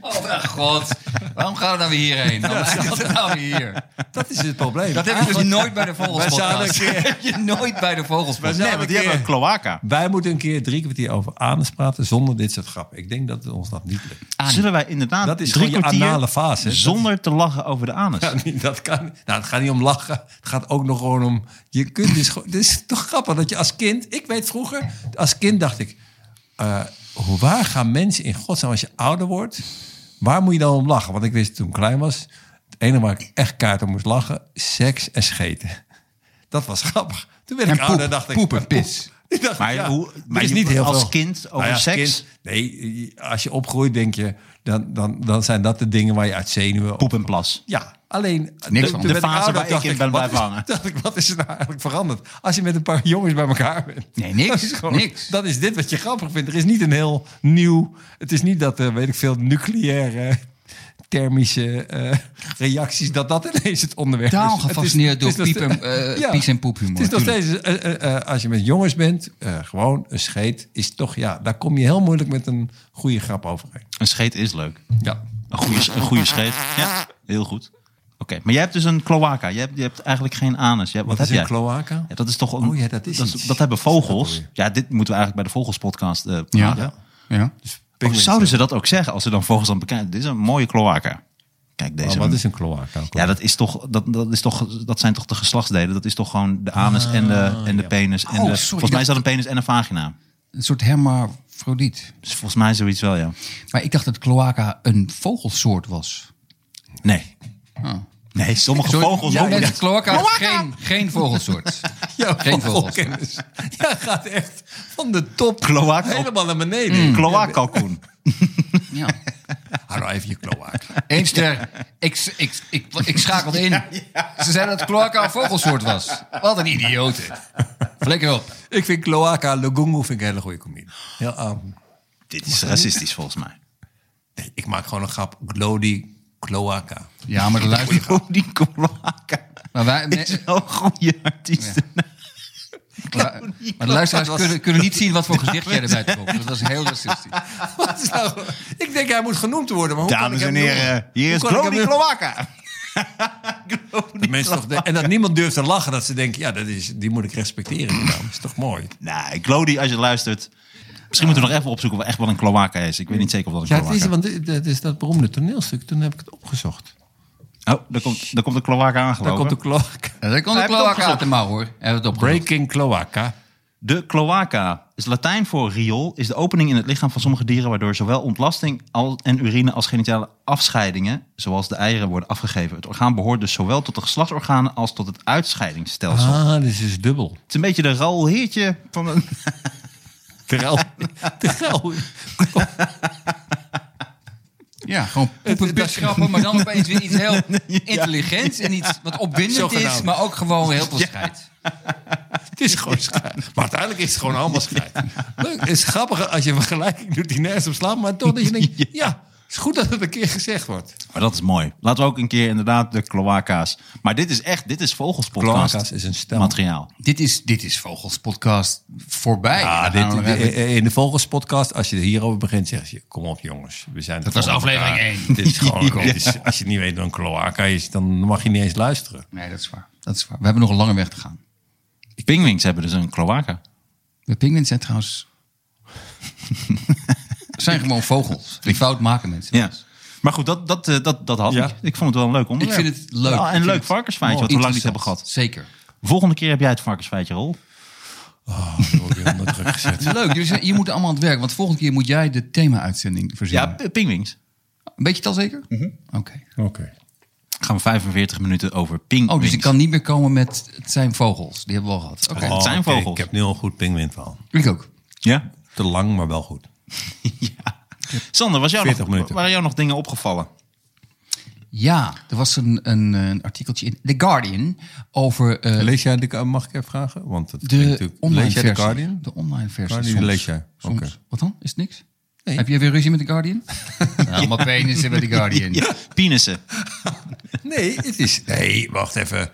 Oh, mijn god. Waarom gaan we dan weer hierheen? Waarom gaan we nou hier? Dat is het (laughs) probleem. Dat heb je dus nooit bij de vogels Wij zouden podcast. een Dat heb je nooit bij de vogels podcast. Nee, zouden want een die hebben een keer- cloaca. Wij moeten een keer drie kwartier over anus praten zonder dit soort grappen. Ik denk dat het ons dat niet lukt. Zullen wij inderdaad Dat is drie gewoon je kwartier anale fase. Dat is- zonder te lachen over de anus? Ja, (laughs) nee, dat kan niet. Nou, het gaat niet om lachen. Het gaat ook nog gewoon om... Je kunt dus... gewoon- Het is toch grappig dat je als kind... Ik weet vroeger, als kind dacht ik... eh, hoe- waar gaan mensen in godsnaam als je ouder wordt... Waar moet je dan om lachen? Want ik wist toen ik klein was... Het enige waar ik echt kaart om moest lachen... Seks en scheten. Dat was grappig. Toen werd En ik ouder poep. dacht ik... Poep en eh, pis. (laughs) Ik dacht, Maar, ja, hoe, er maar is je- niet heel als veel- kind over Nou ja, als seks, kind- nee, als je opgroeit, denk je, dan, dan, dan zijn dat de dingen waar je uit zenuwen... op- poep en plas. Ja, alleen... Niks toen van. ben De fase ouder, waar ik dacht in ben wat blijven is- hangen. (laughs) dacht ik, wat is er nou eigenlijk veranderd? Als je met een paar (laughs) jongens bij elkaar bent. Nee, niks, Dat is, niks. dat is dit wat je grappig vindt. Er is niet een heel nieuw... Het is niet dat, er weet ik veel, nucleaire... eh, Thermische eh, reacties, dat dat ineens het onderwerp is. Totaal Het is- gefascineerd door het is nog piep en, steeds- eh, Ja. pies en poephumor. Het is nog steeds, eh, eh, eh, als je met jongens bent, eh, gewoon een scheet is toch, ja, daar kom je heel moeilijk met een goede grap overheen. Een scheet is leuk. Ja. Een goede, een goede scheet. Ja, heel goed. Oké, maar jij hebt dus een cloaca. Je hebt, je hebt eigenlijk geen anus. Jij- wat Wat is heb een jij? cloaca? Ja, dat is toch een, Oh ja, dat is dat, iets. dat hebben Dat is vogels. dat Ja, dit moeten we eigenlijk bij de vogelspodcast eh Ja. praten. Ja. ja. Dus Of zouden ze dat ook zeggen als ze dan vogels aan bekijken? Dit is een mooie cloaca. Kijk, deze. Maar wat is een Nou, cloaca? ja, dat, is toch, dat, dat, is toch, dat zijn toch de geslachtsdelen? Dat is toch gewoon de anus en de, Ah, en de penis. En Oh, de, sorry, volgens mij is dat een penis en een vagina. Een soort hermafrodiet. Dus volgens mij zoiets wel, ja. Maar ik dacht dat cloaca een vogelsoort was. Nee. Oh. Nee, sommige Sorry, vogels ja, ook mensen, niet. Cloaca is geen, geen (laughs) vogelsoort. Ja, Geen vogelkennis. Ja, gaat echt van de top Cloaca. helemaal naar beneden. Kloaakkalkoen. Ja. Hallo, even je cloaca. Eén ster. Ik, ik, ik, ik schakelde in. Ze zeiden dat cloaca een vogelsoort was. Wat een idiote. Flikker op. ik vind cloaca Lugungu vind ik een hele goede comedie. Heel aan. Dit is racistisch volgens mij. Nee, ik maak gewoon een grap. Glody cloaca. Ja, maar de luisteraar. Oh, die kloaken Maar, wij, is nou wel een goede artiest. maar, maar de luisteraars kunnen, kunnen niet zien wat voor gezicht jij erbij trok. Dat was heel racistisch. (laughs) Wat is nou- ik denk hij moet genoemd worden. Maar hoe Dames kan en ik hem heren, noemen? hier Hoe is kan ik hem Glody noemen? Kloaka. Dat mensen toch de- en dat niemand durft te lachen. Dat ze denken, ja, dat is, die moet ik respecteren. (clears throat) die naam. Dat is toch mooi? Nee, Nou, Glody, als je luistert. Misschien moeten we nog even opzoeken wat echt wel een kloaka is. Ik weet niet zeker of dat een Ja, kloaka het is. is, want dat is dat beroemde toneelstuk. Toen heb ik het opgezocht. Oh, daar komt, daar komt een kloaka aangelopen. Daar komt de cloaca. Ja, daar kon Hij de heeft het cloaca uit opgezocht. de mouw hoor. Hij heeft het opgezocht. Breaking cloaca. De cloaca is Latijn voor riool, is de opening in het lichaam van sommige dieren waardoor zowel ontlasting al- en urine als genitale afscheidingen, zoals de eieren, worden afgegeven. Het orgaan behoort dus zowel tot de geslachtsorganen als tot het uitscheidingsstelsel. Ah, dit is dubbel. Het is een beetje de Raoul Heertje van een... (laughs) Terwijl, (laughs) terwijl Ja, gewoon poepenpitschappen, maar dan opeens weer iets (laughs) heel intelligents en iets wat opwindend is, Zogenaamd. maar ook gewoon heel veel scheid. het is gewoon schijn. Maar uiteindelijk is het gewoon allemaal schijn. Leuk. Het is grappig als je een vergelijking doet die nergens op slaat. Maar toch dat je denkt, (laughs) ja, het is goed dat het een keer gezegd wordt. Maar dat is mooi. Laten we ook een keer inderdaad de cloaca's. Maar dit is echt, dit is Cloaca's vogelspodcast is een stel. materiaal. Dit is, dit is Vogels podcast voorbij. Ah, Dan gaan we nog dit, even- in de Vogelspodcast, als je hierover begint, zeg je... Kom op jongens, we zijn... Dat was aflevering één. Dit is (laughs) gewoon... dit is- als je niet weet wat een cloaca is, dan mag je niet eens luisteren. nee, dat is, waar. dat is waar. We hebben nog een lange weg te gaan. Pingwings hebben dus een cloaca. De pinguïns zijn (laughs) trouwens... Het zijn gewoon vogels. Die fout maken mensen. Ja. Maar goed, dat, dat, eh, dat, dat had Ja. ik. Ik vond het wel een leuk onderwerp. Ik vind het leuk. Ja, Ik en vind leuk het varkensfeitje, wat we lang niet hebben gehad. Zeker. Volgende keer heb jij het varkensfeitje, Rol. Dan word je onder druk gezet. Leuk, jullie, zijn- jullie moeten allemaal aan het werk. Want volgende keer moet jij de thema-uitzending Ja, Mhm. verzinnen. p- pingwings. Weet je het al zeker? Oké. (laughs) Oké. Gaan we 45 minuten over pingwings. Oh, dus ik kan niet meer komen met het zijn vogels. Die hebben we al gehad. Oké. Het zijn oké, vogels. Ik heb nu al een goed pinguïnverhaal. Ik ook. Ja? Te lang, maar wel goed. Sander, was jou 40 nog, minuten. waren jou nog dingen opgevallen? Ja, er was een, een, een artikeltje in The Guardian over eh, Lees jij de, mag ik even vragen? Want het klinkt de natuurlijk, online lees jij versie. de Guardian? De online versie. Guardian soms. lees jij? Soms. Oké. Wat dan? Is het niks? Heb jij weer ruzie met The (laughs) Guardian? Allemaal penissen bij The Guardian. (laughs) Ja, penissen. Nee, het is... Nee, wacht even.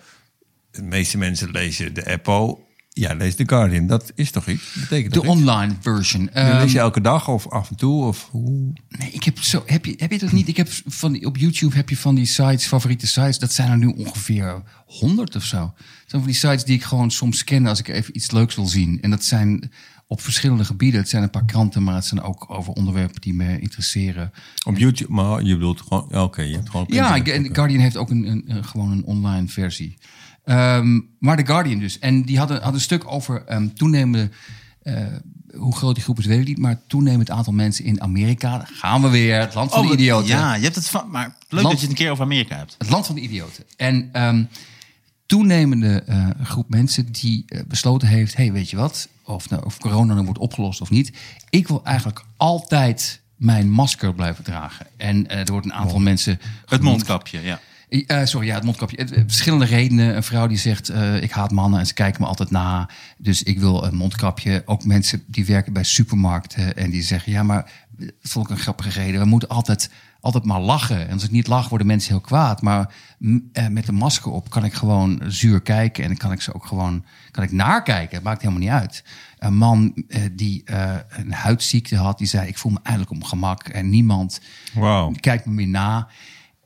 De meeste mensen lezen de Apple. Ja, lees de Guardian. Dat is toch iets? Betekent De toch iets? online version. Die Ehm, lees je elke dag of af en toe? Of hoe? Nee, ik heb zo. Heb je, heb je dat niet? Ik heb van die, op YouTube heb je van die sites, favoriete sites. Dat zijn er nu ongeveer 100 of zo. Dat zijn van die sites die ik gewoon soms ken als ik even iets leuks wil zien. En dat zijn op verschillende gebieden. Het zijn een paar kranten, maar het zijn ook over onderwerpen die me interesseren. Op YouTube? Maar je bedoelt gewoon... Oké, je hebt gewoon... op Ja, internet. en The Guardian heeft ook een, een, een- gewoon een online versie. Ehm, maar The Guardian dus. En die hadden had een stuk over ehm, toenemende... eh, hoe groot die groep is, weet ik niet. Maar toenemend aantal mensen in Amerika. Daar gaan we weer. Het Oh, land van de idioten. Ja, je hebt het van, maar Land- leuk dat je het een keer over Amerika hebt. Het land van de idioten. En ehm, toenemende eh, groep mensen die eh, besloten heeft... hey, weet je wat, of, nou, of corona nou wordt opgelost of niet... ik wil eigenlijk altijd mijn masker blijven dragen. En eh, er wordt een aantal mensen... Het genoemd. mondkapje, ja. Eh, sorry, ja, het mondkapje. Eh, eh, Verschillende redenen. Een vrouw die zegt, eh, ik haat mannen en ze kijken me altijd na. Dus ik wil een mondkapje. Ook mensen die werken bij supermarkten en die zeggen... ja, maar eh, dat vond ik een grappige reden. We moeten altijd, altijd maar lachen. En als ik niet lach, worden mensen heel kwaad. Maar m, eh, met een masker op kan ik gewoon zuur kijken... en dan kan ik ze ook gewoon kan ik nakijken. Het maakt helemaal niet uit. Een man eh, die eh, een huidziekte had, die zei... ik voel me eigenlijk op mijn gemak en niemand Wauw. kijkt me meer na...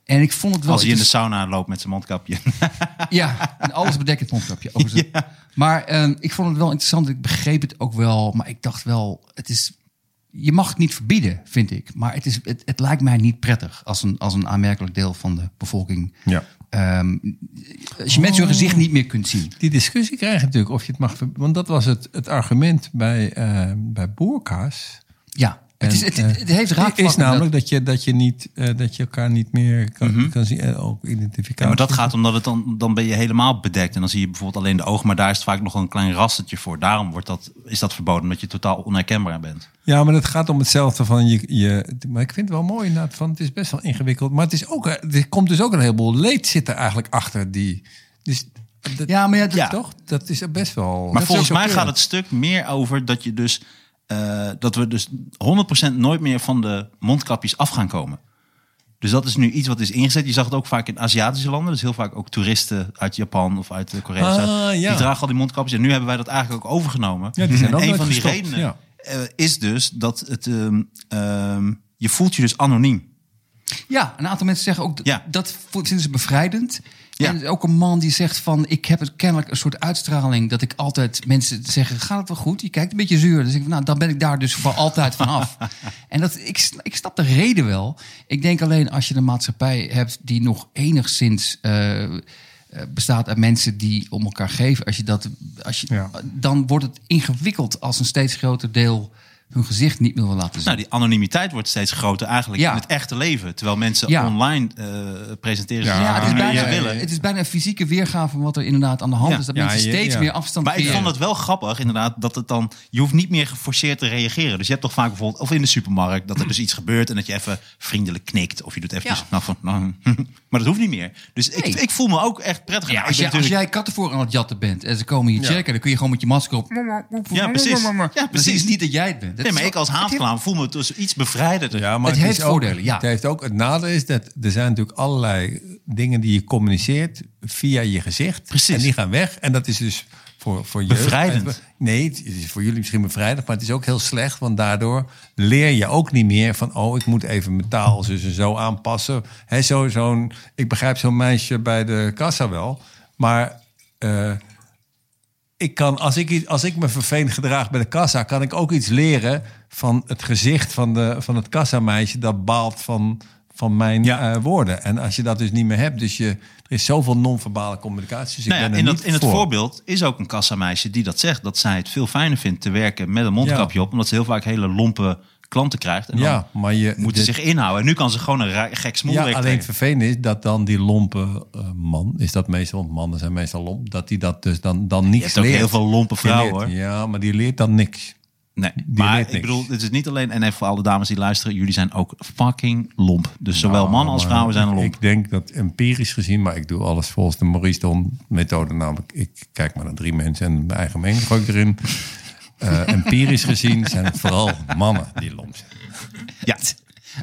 En ik vond het wel Als je in de interessant. sauna loopt met zijn mondkapje. (laughs) Ja, een alles bedekkend mondkapje. overigens. Maar ehm, ik vond het wel interessant. Ik begreep het ook wel. Maar ik dacht wel, het is, je mag het niet verbieden, vind ik. Maar het, is, het, het lijkt mij niet prettig als een, als een aanmerkelijk deel van de bevolking. Ja. Ehm, als je mensen hun gezicht niet meer kunt zien. Die discussie krijg je natuurlijk of je het mag... ver- Want dat was het, het argument bij, eh bij boerka's. Ja, eh, het, is, het, het heeft raakvlakken. is namelijk dat je, dat je, niet, eh, dat je elkaar niet meer kan, Mhm. kan zien. eh, ook identificatie. Ja, maar Nou, dat gaat omdat het dan, dan ben je helemaal bedekt. En dan zie je bijvoorbeeld alleen de ogen, maar daar is het vaak nog een klein rastertje voor. Daarom wordt dat, is dat verboden, omdat je totaal onherkenbaar bent. Ja, maar het gaat om hetzelfde van je, je. Maar ik vind het wel mooi inderdaad. Van, het is best wel ingewikkeld. Maar het is ook, er komt dus ook een heleboel leed zit er eigenlijk achter die. Dus dat, Ja, maar ja, dat- Ja. toch? Dat is best wel. dat Maar is volgens ook mij gaat chockerend. het stuk meer over dat je dus eh, dat we dus 100% nooit meer van de mondkapjes af gaan komen. Dus dat is nu iets wat is ingezet. Je zag het ook vaak in Aziatische landen. Dus heel vaak ook toeristen uit Japan of uit eh, Korea. Ah, Zuid- ja. Die dragen al die mondkapjes. En nu hebben wij dat eigenlijk ook overgenomen. Ja, die zijn En ook een nooit van die gestopt, redenen ja. eh, is dus dat het, ehm, ehm, je voelt je dus anoniem. Ja, een aantal mensen zeggen ook dat, Ja. dat vo- vinden ze bevrijdend. Ja. En er is ook een man die zegt van, ik heb het kennelijk een soort uitstraling dat ik altijd mensen zeggen, gaat het wel goed? Je kijkt een beetje zuur. Dus ik, van, nou, dan ben ik daar dus voor altijd (laughs) vanaf. en dat, ik, s- ik snap de reden wel. Ik denk alleen als je een maatschappij hebt die nog enigszins eh, eh, bestaat uit mensen die om elkaar geven, als je dat, als je, Ja. dan wordt het ingewikkeld als een steeds groter deel hun gezicht niet meer wil laten zien. Nou, die anonimiteit wordt steeds groter eigenlijk Ja. in het echte leven. Terwijl mensen Ja. online eh, presenteren Ja, zichzelf Ja, het is, hoe ze bijna, willen. het is bijna een fysieke weergave van wat er inderdaad aan de hand Ja, is. Dat ja, mensen je- steeds ja. meer afstand Maar ik creëren. vond het wel grappig, inderdaad, dat het dan... Je hoeft niet meer geforceerd te reageren. Dus je hebt toch vaak bijvoorbeeld, of in de supermarkt, dat er dus iets gebeurt... en dat je even vriendelijk knikt. Of je doet even Ja. nou, van... nou, (laughs) maar dat hoeft niet meer. Dus Nee. ik, ik voel me ook echt prettig. Ja, Ik als, ben jij- als natuurlijk- jij kattenvoer aan het jatten bent en ze komen je checken... dan kun je gewoon met je masker op... Ja, precies. Ja, Dan zien precies. ze niet dat jij het bent. Dat Nee, maar is ik wel- als haafklaan voel me dus iets bevrijderder. Ja, maar Het heeft is ook- voordelen, ja. Het heeft ook het nadeel is dat er zijn natuurlijk allerlei dingen die je communiceert via je gezicht. Precies. En die gaan weg. En dat is dus voor, voor je. Bevrijdend. Nee, het is voor jullie misschien bevrijdend, maar het is ook heel slecht. Want daardoor leer je ook niet meer van, oh, ik moet even mijn taal dus en zo aanpassen. Hè, zo, zo'n, ik begrijp zo'n meisje bij de kassa wel. Maar eh, ik kan, als, ik, iets- als ik me vervelend gedraag bij de kassa, kan ik ook iets leren van het gezicht van, de, van het kassameisje dat baalt van, van mijn Ja. eh, woorden. En als je dat dus niet meer hebt, dus je, er is zoveel non-verbale communicatie. Dus ik Nou ja, ben in, er dat, niet in het voor. voorbeeld is ook een kassameisje die dat zegt. Dat zij het veel fijner vindt te werken met een mondkapje op. Omdat ze heel vaak hele lompe klanten krijgt. En dan Ja, maar je moeten dit- ze zich inhouden. En nu kan ze gewoon een ra- gek smoel Ja, wegtrekken. alleen het vervelende is dat dan die lompe eh, man, is dat meestal, want mannen zijn meestal lomp, dat die dat dus dan, dan niks Je hebt ook leert. heel veel lompe Die vrouwen. hoor. leert- Ja, maar die leert dan niks. Nee, Die maar weet ik niks. bedoel, het is niet alleen... en even voor alle dames die luisteren, jullie zijn ook fucking lomp. Dus zowel mannen als Nou, Maar vrouwen zijn ik- lomp. Ik denk dat empirisch gezien, maar ik doe alles volgens de Maurice de Hond methode. Namelijk, ik kijk maar naar drie mensen en mijn eigen mening gooi ik erin. Eh, empirisch gezien zijn het vooral mannen die lomp zijn. ja.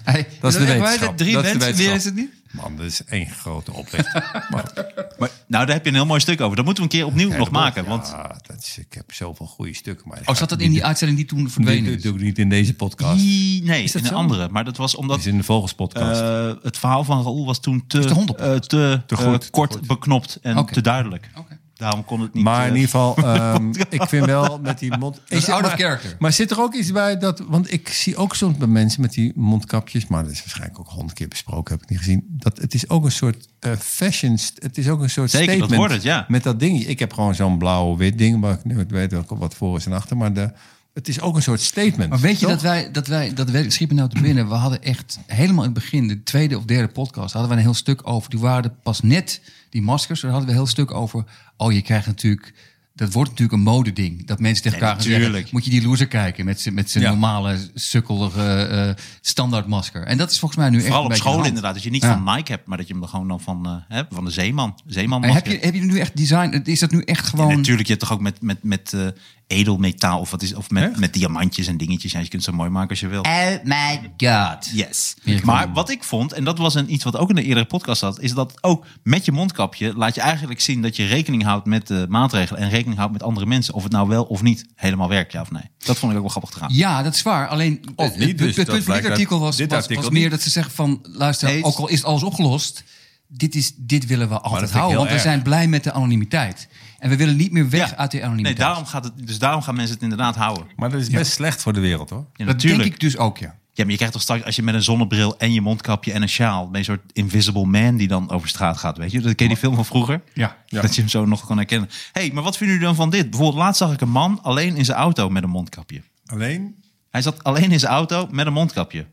Hey, Dat is de echt waar, wetenschap. Drie Dat is de mensen, meer wetenschap. is het niet? Man, dat is één grote oplichting. (laughs) Maar Maar, nou, daar heb je een heel mooi stuk over. Dat moeten we een keer opnieuw nog maken. Ja, Want ah, dat is, ik heb zoveel goede stukken. Maar Oh, zat dat in die uitzending die toen verdwenen Dat is? doe ik niet in deze podcast. Het die, nee, dat in een zo? andere. Maar dat was omdat is in de Vogelspodcast. eh, het verhaal van Raoul was toen te, de hond op? eh, te, Te goed, eh, te kort goed. beknopt en Oké. te duidelijk. Oké. Daarom kon het niet. maar eh, in ieder geval, ehm, ik vind wel met die mond... Dat is zeg out of maar- character. Maar zit er ook iets bij dat... Want ik zie ook soms bij mensen met die mondkapjes... maar dat is waarschijnlijk ook honderd keer besproken, heb ik niet gezien... dat het is ook een soort eh, fashion... st- Het is ook een soort Zeker, dat statement wordt het, ja. met dat ding. Ik heb gewoon zo'n blauw-wit ding... waar ik nooit weet wat- wat voor is en achter... maar de, Het is ook een soort statement. Maar weet je toch? dat wij, dat wij, dat weet, schiet me nou te binnen, we hadden echt helemaal in het begin, de tweede of derde podcast, hadden we een heel stuk over. Die waren er pas net, die maskers, daar hadden we een heel stuk over. Oh, je krijgt natuurlijk, dat wordt natuurlijk een modeding. Dat mensen tegen Nee, elkaar gaan zeggen, natuurlijk. moet je die loser kijken met zijn met zijn Ja. normale, sukkelige eh standaardmasker. En dat is volgens mij nu Vooral echt een op beetje school aan de hand. inderdaad. Dat je niet Ja. van Nike hebt, maar dat je hem dan gewoon dan van, eh, hè, van de zeeman. zeeman Maar heb, je, heb je nu echt design, is dat nu echt gewoon... En natuurlijk, je hebt toch ook met, met, met eh, edelmetaal of, wat is, of met, Echt? met diamantjes en dingetjes. Ja, je kunt het zo mooi maken als je wil. Oh my god. Yes. Ja, ik Maar vond- wat ik vond, en dat was een, iets wat ook in de eerdere podcast zat, is dat ook met je mondkapje laat je eigenlijk zien dat je rekening houdt met de maatregelen en rekening houdt met andere mensen. Of het nou wel of niet helemaal werkt, ja of nee. Dat vond ik ook wel grappig gedaan. Ja, dat is waar. Alleen Of eh, niet, het, dus het dat punt van dit blijkt uit artikel was, dit was, artikel was niet. meer dat ze zeggen van... luister, Nee, ook al is alles opgelost... dit, is, dit willen we altijd vind ik houden. heel Want we erg. zijn blij met de anonimiteit. En we willen niet meer weg Ja. uit die Nee, anonimiteit. daarom gaat het, dus daarom gaan mensen het inderdaad houden. Maar dat is best slecht voor de wereld, hoor. Ja, dat natuurlijk. denk ik dus ook, ja. Ja, maar je krijgt toch straks, als je met een zonnebril en je mondkapje en een sjaal, ben je een soort invisible man die dan over straat gaat, weet je? Dat ken je die film van vroeger? Ja. Ja. Dat je hem zo nog kan herkennen. Hé, hey, maar wat vinden jullie dan van dit? Bijvoorbeeld laatst zag ik een man alleen in zijn auto met een mondkapje. Alleen, Hij zat alleen in zijn auto met een mondkapje.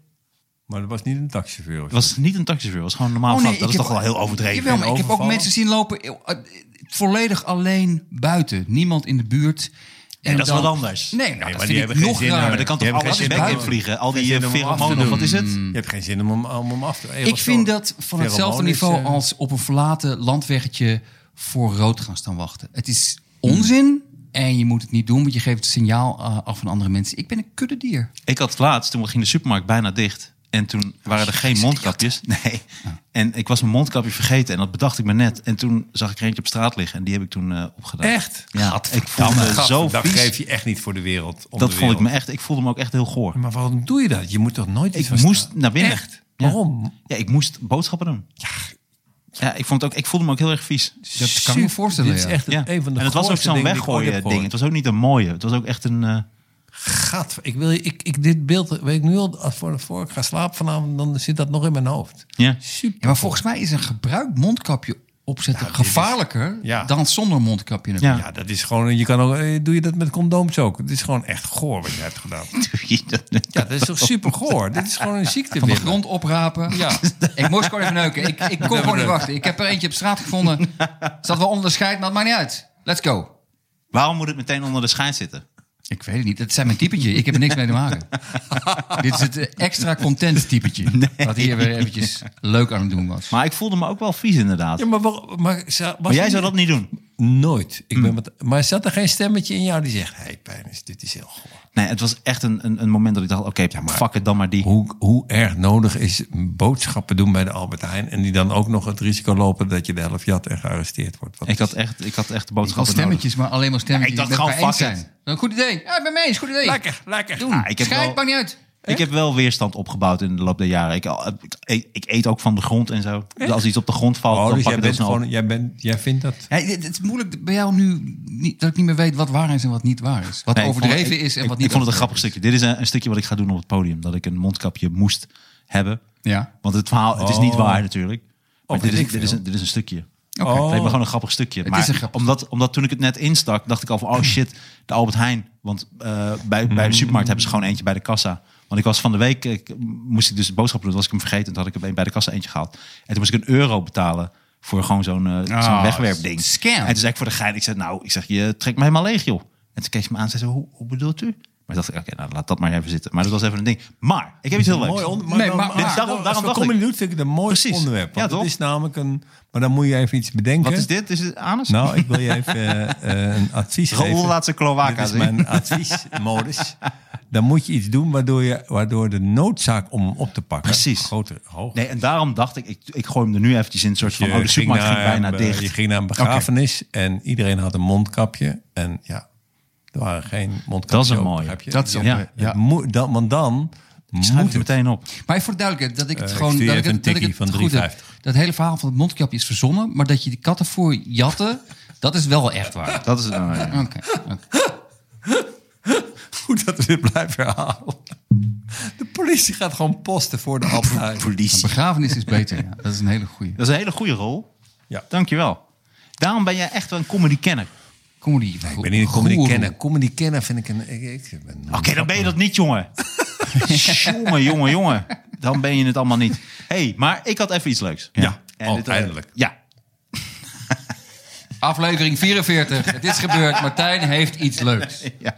maar dat was niet een taxichauffeur. of Het was niet een taxichauffeur, het was gewoon een normaal Oh, nee, vak. Dat ik is heb- toch wel heel overdreven. Jawel, maar ik heb ook overvallen. mensen zien lopen... eh, eh, volledig alleen buiten. Niemand in de buurt. En dat is wat anders. Nee, nou, dat die vind hebben ik geen nog zin in. raar. maar dan kan Je toch hebt alles geen je bek zin in om- vliegen? Al geen die zin eh, om hem af te pheromonen, doen. wat is het? Je hebt geen zin om hem, om hem af te... Ik vind dat van hetzelfde niveau als als op een verlaten landweggetje voor rood gaan staan wachten. Het is onzin en je moet het niet doen, want je geeft het signaal eh, af aan andere mensen. Ik ben een kuddedier. Ik had het laatst, toen ging de supermarkt bijna dicht. En toen Oh, waren er geen mondkapjes. (laughs) Nee. En ik was mijn mondkapje vergeten. En dat bedacht ik me net. En toen zag ik er eentje op straat liggen. En die heb ik toen eh, opgedaan. Echt? Ja, ik voelde me zo Dat vies. geef je echt niet voor de wereld. om dat de vond ik me wereld. echt. Ik voelde me ook echt heel goor. Maar waarom doe je dat? Je moet toch nooit iets Ik van moest staan? naar binnen. Echt? Ja. Waarom? Ja, ik moest boodschappen doen. Ja, ik, vond het ook, ik voelde me ook heel erg vies. Dat kan ik me voorstellen. Dit is ja. echt Ja. een van de en het was ook goorste zo'n dingen die ik ooit weggooien heb ding. Het gehoord. was ook niet een mooie. Het was ook echt een... eh, Gadver- ik wil, je- ik, ik, dit beeld weet ik nu al, als voor, voor ik ga slapen vanavond, dan zit dat nog in mijn hoofd. (laughs) ja. (laughs) Super. Ja, maar volgens mij is een gebruikt mondkapje opzetten gevaarlijker Ja. dan zonder mondkapje. Ja. Ja, dat is gewoon, je kan ook, eh, doe je dat met condooms ook? Het is gewoon echt goor wat je hebt gedaan. (laughs) Ja, dat is toch super goor? Dit is gewoon een (laughs) ziekte. Van de Wim. grond oprapen. Ja. Ik moest gewoon even neuken. Ik, ik kon gewoon niet wachten. Ik heb er eentje op straat (laughs) gevonden. Zat wel onderscheid, maar het maakt niet uit. Let's go. Waarom moet het meteen onder de schijn zitten? Ik weet het niet. Het zijn mijn typetje. Ik heb er niks mee te (laughs) maken. Dit is het eh, extra content typetje. Wat hier weer eventjes leuk aan het doen was. Maar ik voelde me ook wel vies inderdaad. Ja, maar, waar- maar, zou- Hmm. was maar jij er- zou dat niet doen. Nooit. Ik ben met, maar zat er geen stemmetje in jou die zegt, hey, pijn is, dit is heel goor. Nee, het was echt een, een, een moment dat ik dacht, oké, fuck het dan maar die. hoe, hoe erg nodig is boodschappen doen bij de Albert Heijn... en die dan ook nog het risico lopen dat je de helft jat en gearresteerd wordt. Wat Ik had is- echt, ik had echt de Al boodschappen nodig. stemmetjes, maar alleen maar stemmetjes. Ja, ik die dacht met gewoon, elkaar fuck eens zijn. Goed idee. Ja, ik ben mee eens. Goed idee. Lekker, lekker. Oh, Doen. Ah, ik heb Schijt, wel- maakt niet uit. Ik heb wel weerstand opgebouwd in de loop der jaren. Ik, al- ik, ik, ik eet ook van de grond en zo. Dus als iets op de grond valt, Oh, dan dus pak jij, ik dat bent snel op. gewoon, jij, bent, jij vindt dat... Ja, het het is moeilijk bij jou nu niet, dat ik niet meer weet wat waar is en wat niet waar is. Wat Nee, ik vond het- overdreven ik- is en ik- wat niet. Ik vond het overdreven een grappig stukje. Dit is een, een stukje wat ik ga doen op het podium. Dat ik een mondkapje moest hebben. is. Ja. Want het verhaal, het is niet Oh. waar natuurlijk. Maar Oh, dit, weet is, ik dit, is veel. een, dit is een stukje. Oké. Oh. Het leek me gewoon een grappig stukje. maar is een grappig omdat, omdat toen ik het net instak, dacht ik al van... (clears throat) oh shit, de Albert Heijn. Want eh, bij, bij Hmm. de supermarkt hebben ze gewoon eentje bij de kassa. Want ik was van de week, ik, moest ik dus de boodschap doen. Toen was ik hem vergeten. Toen had ik hem een- bij de kassa eentje gehaald. En toen moest ik een euro betalen voor gewoon zo'n eh, zo'n Ah, wegwerpding. scam. En toen zei ik voor de gein, ik zei nou, ik zeg, je trekt me helemaal leeg joh. En toen keek ze me aan en zei ze, hoe, hoe bedoelt u? Maar toen dacht ik, oké, nou laat dat maar even zitten. Maar dat was even een ding. Maar, ik heb iets heel leuks. Mooi onder, maar, Nee, dan- maar- maar- als daarom- we daarom dacht comedy ik. doet, vind ik het een mooi Precies. onderwerp. Want Ja, het toch? is namelijk een... Maar dan moet je even iets bedenken. Wat is dit? Is het anus? Nou, ik wil je even eh, eh, een advies Raoul geven. laat zijn cloaca Dit is zien. mijn (laughs) adviesmodus. Dan moet je iets doen waardoor, je, waardoor de noodzaak om hem op te pakken... Precies. Groter, hoger. Nee, en daarom dacht ik, ik, ik gooi hem er nu eventjes in. Een soort van, oh, de supermarkt ging naar bijna een, dicht. Je ging naar een begrafenis en iedereen had een mondkapje. En ja, er waren geen mondkapjes. Dat is een ook, mooie. begrijp je? Dat is een Ja. mooie, Het ja. moet- dan, want dan Schrijf moet het het. meteen op. Maar voor de duidelijkheid, dat ik het Eh, gewoon. ik stuur dat je ik even het, dat een ik het tikkie van goed heb. 3,50. Dat hele verhaal van het mondkapje is verzonnen, maar dat je de katten voor jatten, dat is wel echt (laughs) waar. Dat is het. nou, (laughs) ja. Oké. oké. Goed (laughs) dat we dit blijven herhalen. De politie gaat gewoon posten voor de appel. (laughs) Een Politie. begrafenis is beter. Ja. Dat is een hele goeie. Dat is een hele goede rol. Ja. Dankjewel. Daarom ben jij echt wel een comedy-kenner. comedy. Ik ben niet een comedy kenner. Comedy kenner vind ik een... Ik, ik ben Oké, dan ben je dat niet, (laughs) jongen. jongen, jongen, jongen. Dan ben je het allemaal niet. hey, maar ik had even iets leuks. Ja, oh, eh, eindelijk. ja, (laughs) Aflevering 44. Het is gebeurd. Martijn heeft iets leuks. ja.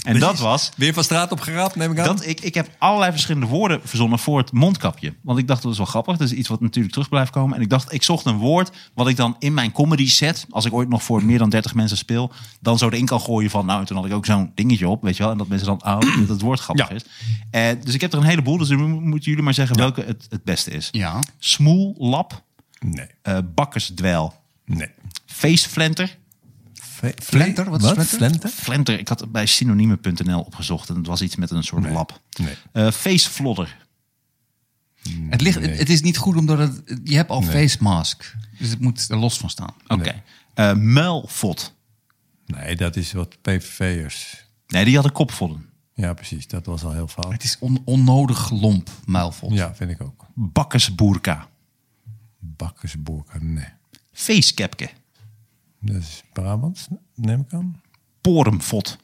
En dat was Weer van straat op geraapt, neem ik aan. dat ik, ik heb allerlei verschillende woorden verzonnen voor het mondkapje. Want ik dacht, dat is wel grappig. Dat is iets wat natuurlijk terug blijft komen. En ik dacht, ik zocht een woord wat ik dan in mijn comedy set... als ik ooit nog voor meer dan 30 mensen speel... dan zo erin kan gooien van... nou, en toen had ik ook zo'n dingetje op, weet je wel. En dat mensen dan, oh, (clears throat) dat het woord grappig Ja. is. Eh, dus ik heb er een heleboel. Dus dan mo- moeten jullie maar zeggen welke het, het beste is. Ja. Smoellap, Nee, eh bakkersdweil, nee. feestflenter... Fle- Flenter? Wat is flenter? Flenter? Flenter, ik had het bij synoniemen.nl opgezocht en het was iets met een soort lap. Nee. Eh, feestvlodder. Het, ligt, het, het is niet goed omdat het, je hebt al face mask. Dus het moet er los van staan. Oké. Eh, muilvot. Nee, dat is wat PVV'ers. Nee, die hadden kopvodden. Ja, precies. Dat was al heel fout. Het is on- onnodig lomp, muilvot. Ja, vind ik ook. Bakkersboerka. Bakkersboerka, nee. Feestkepke. Dat is Brabant, neem ik aan. Porumvot.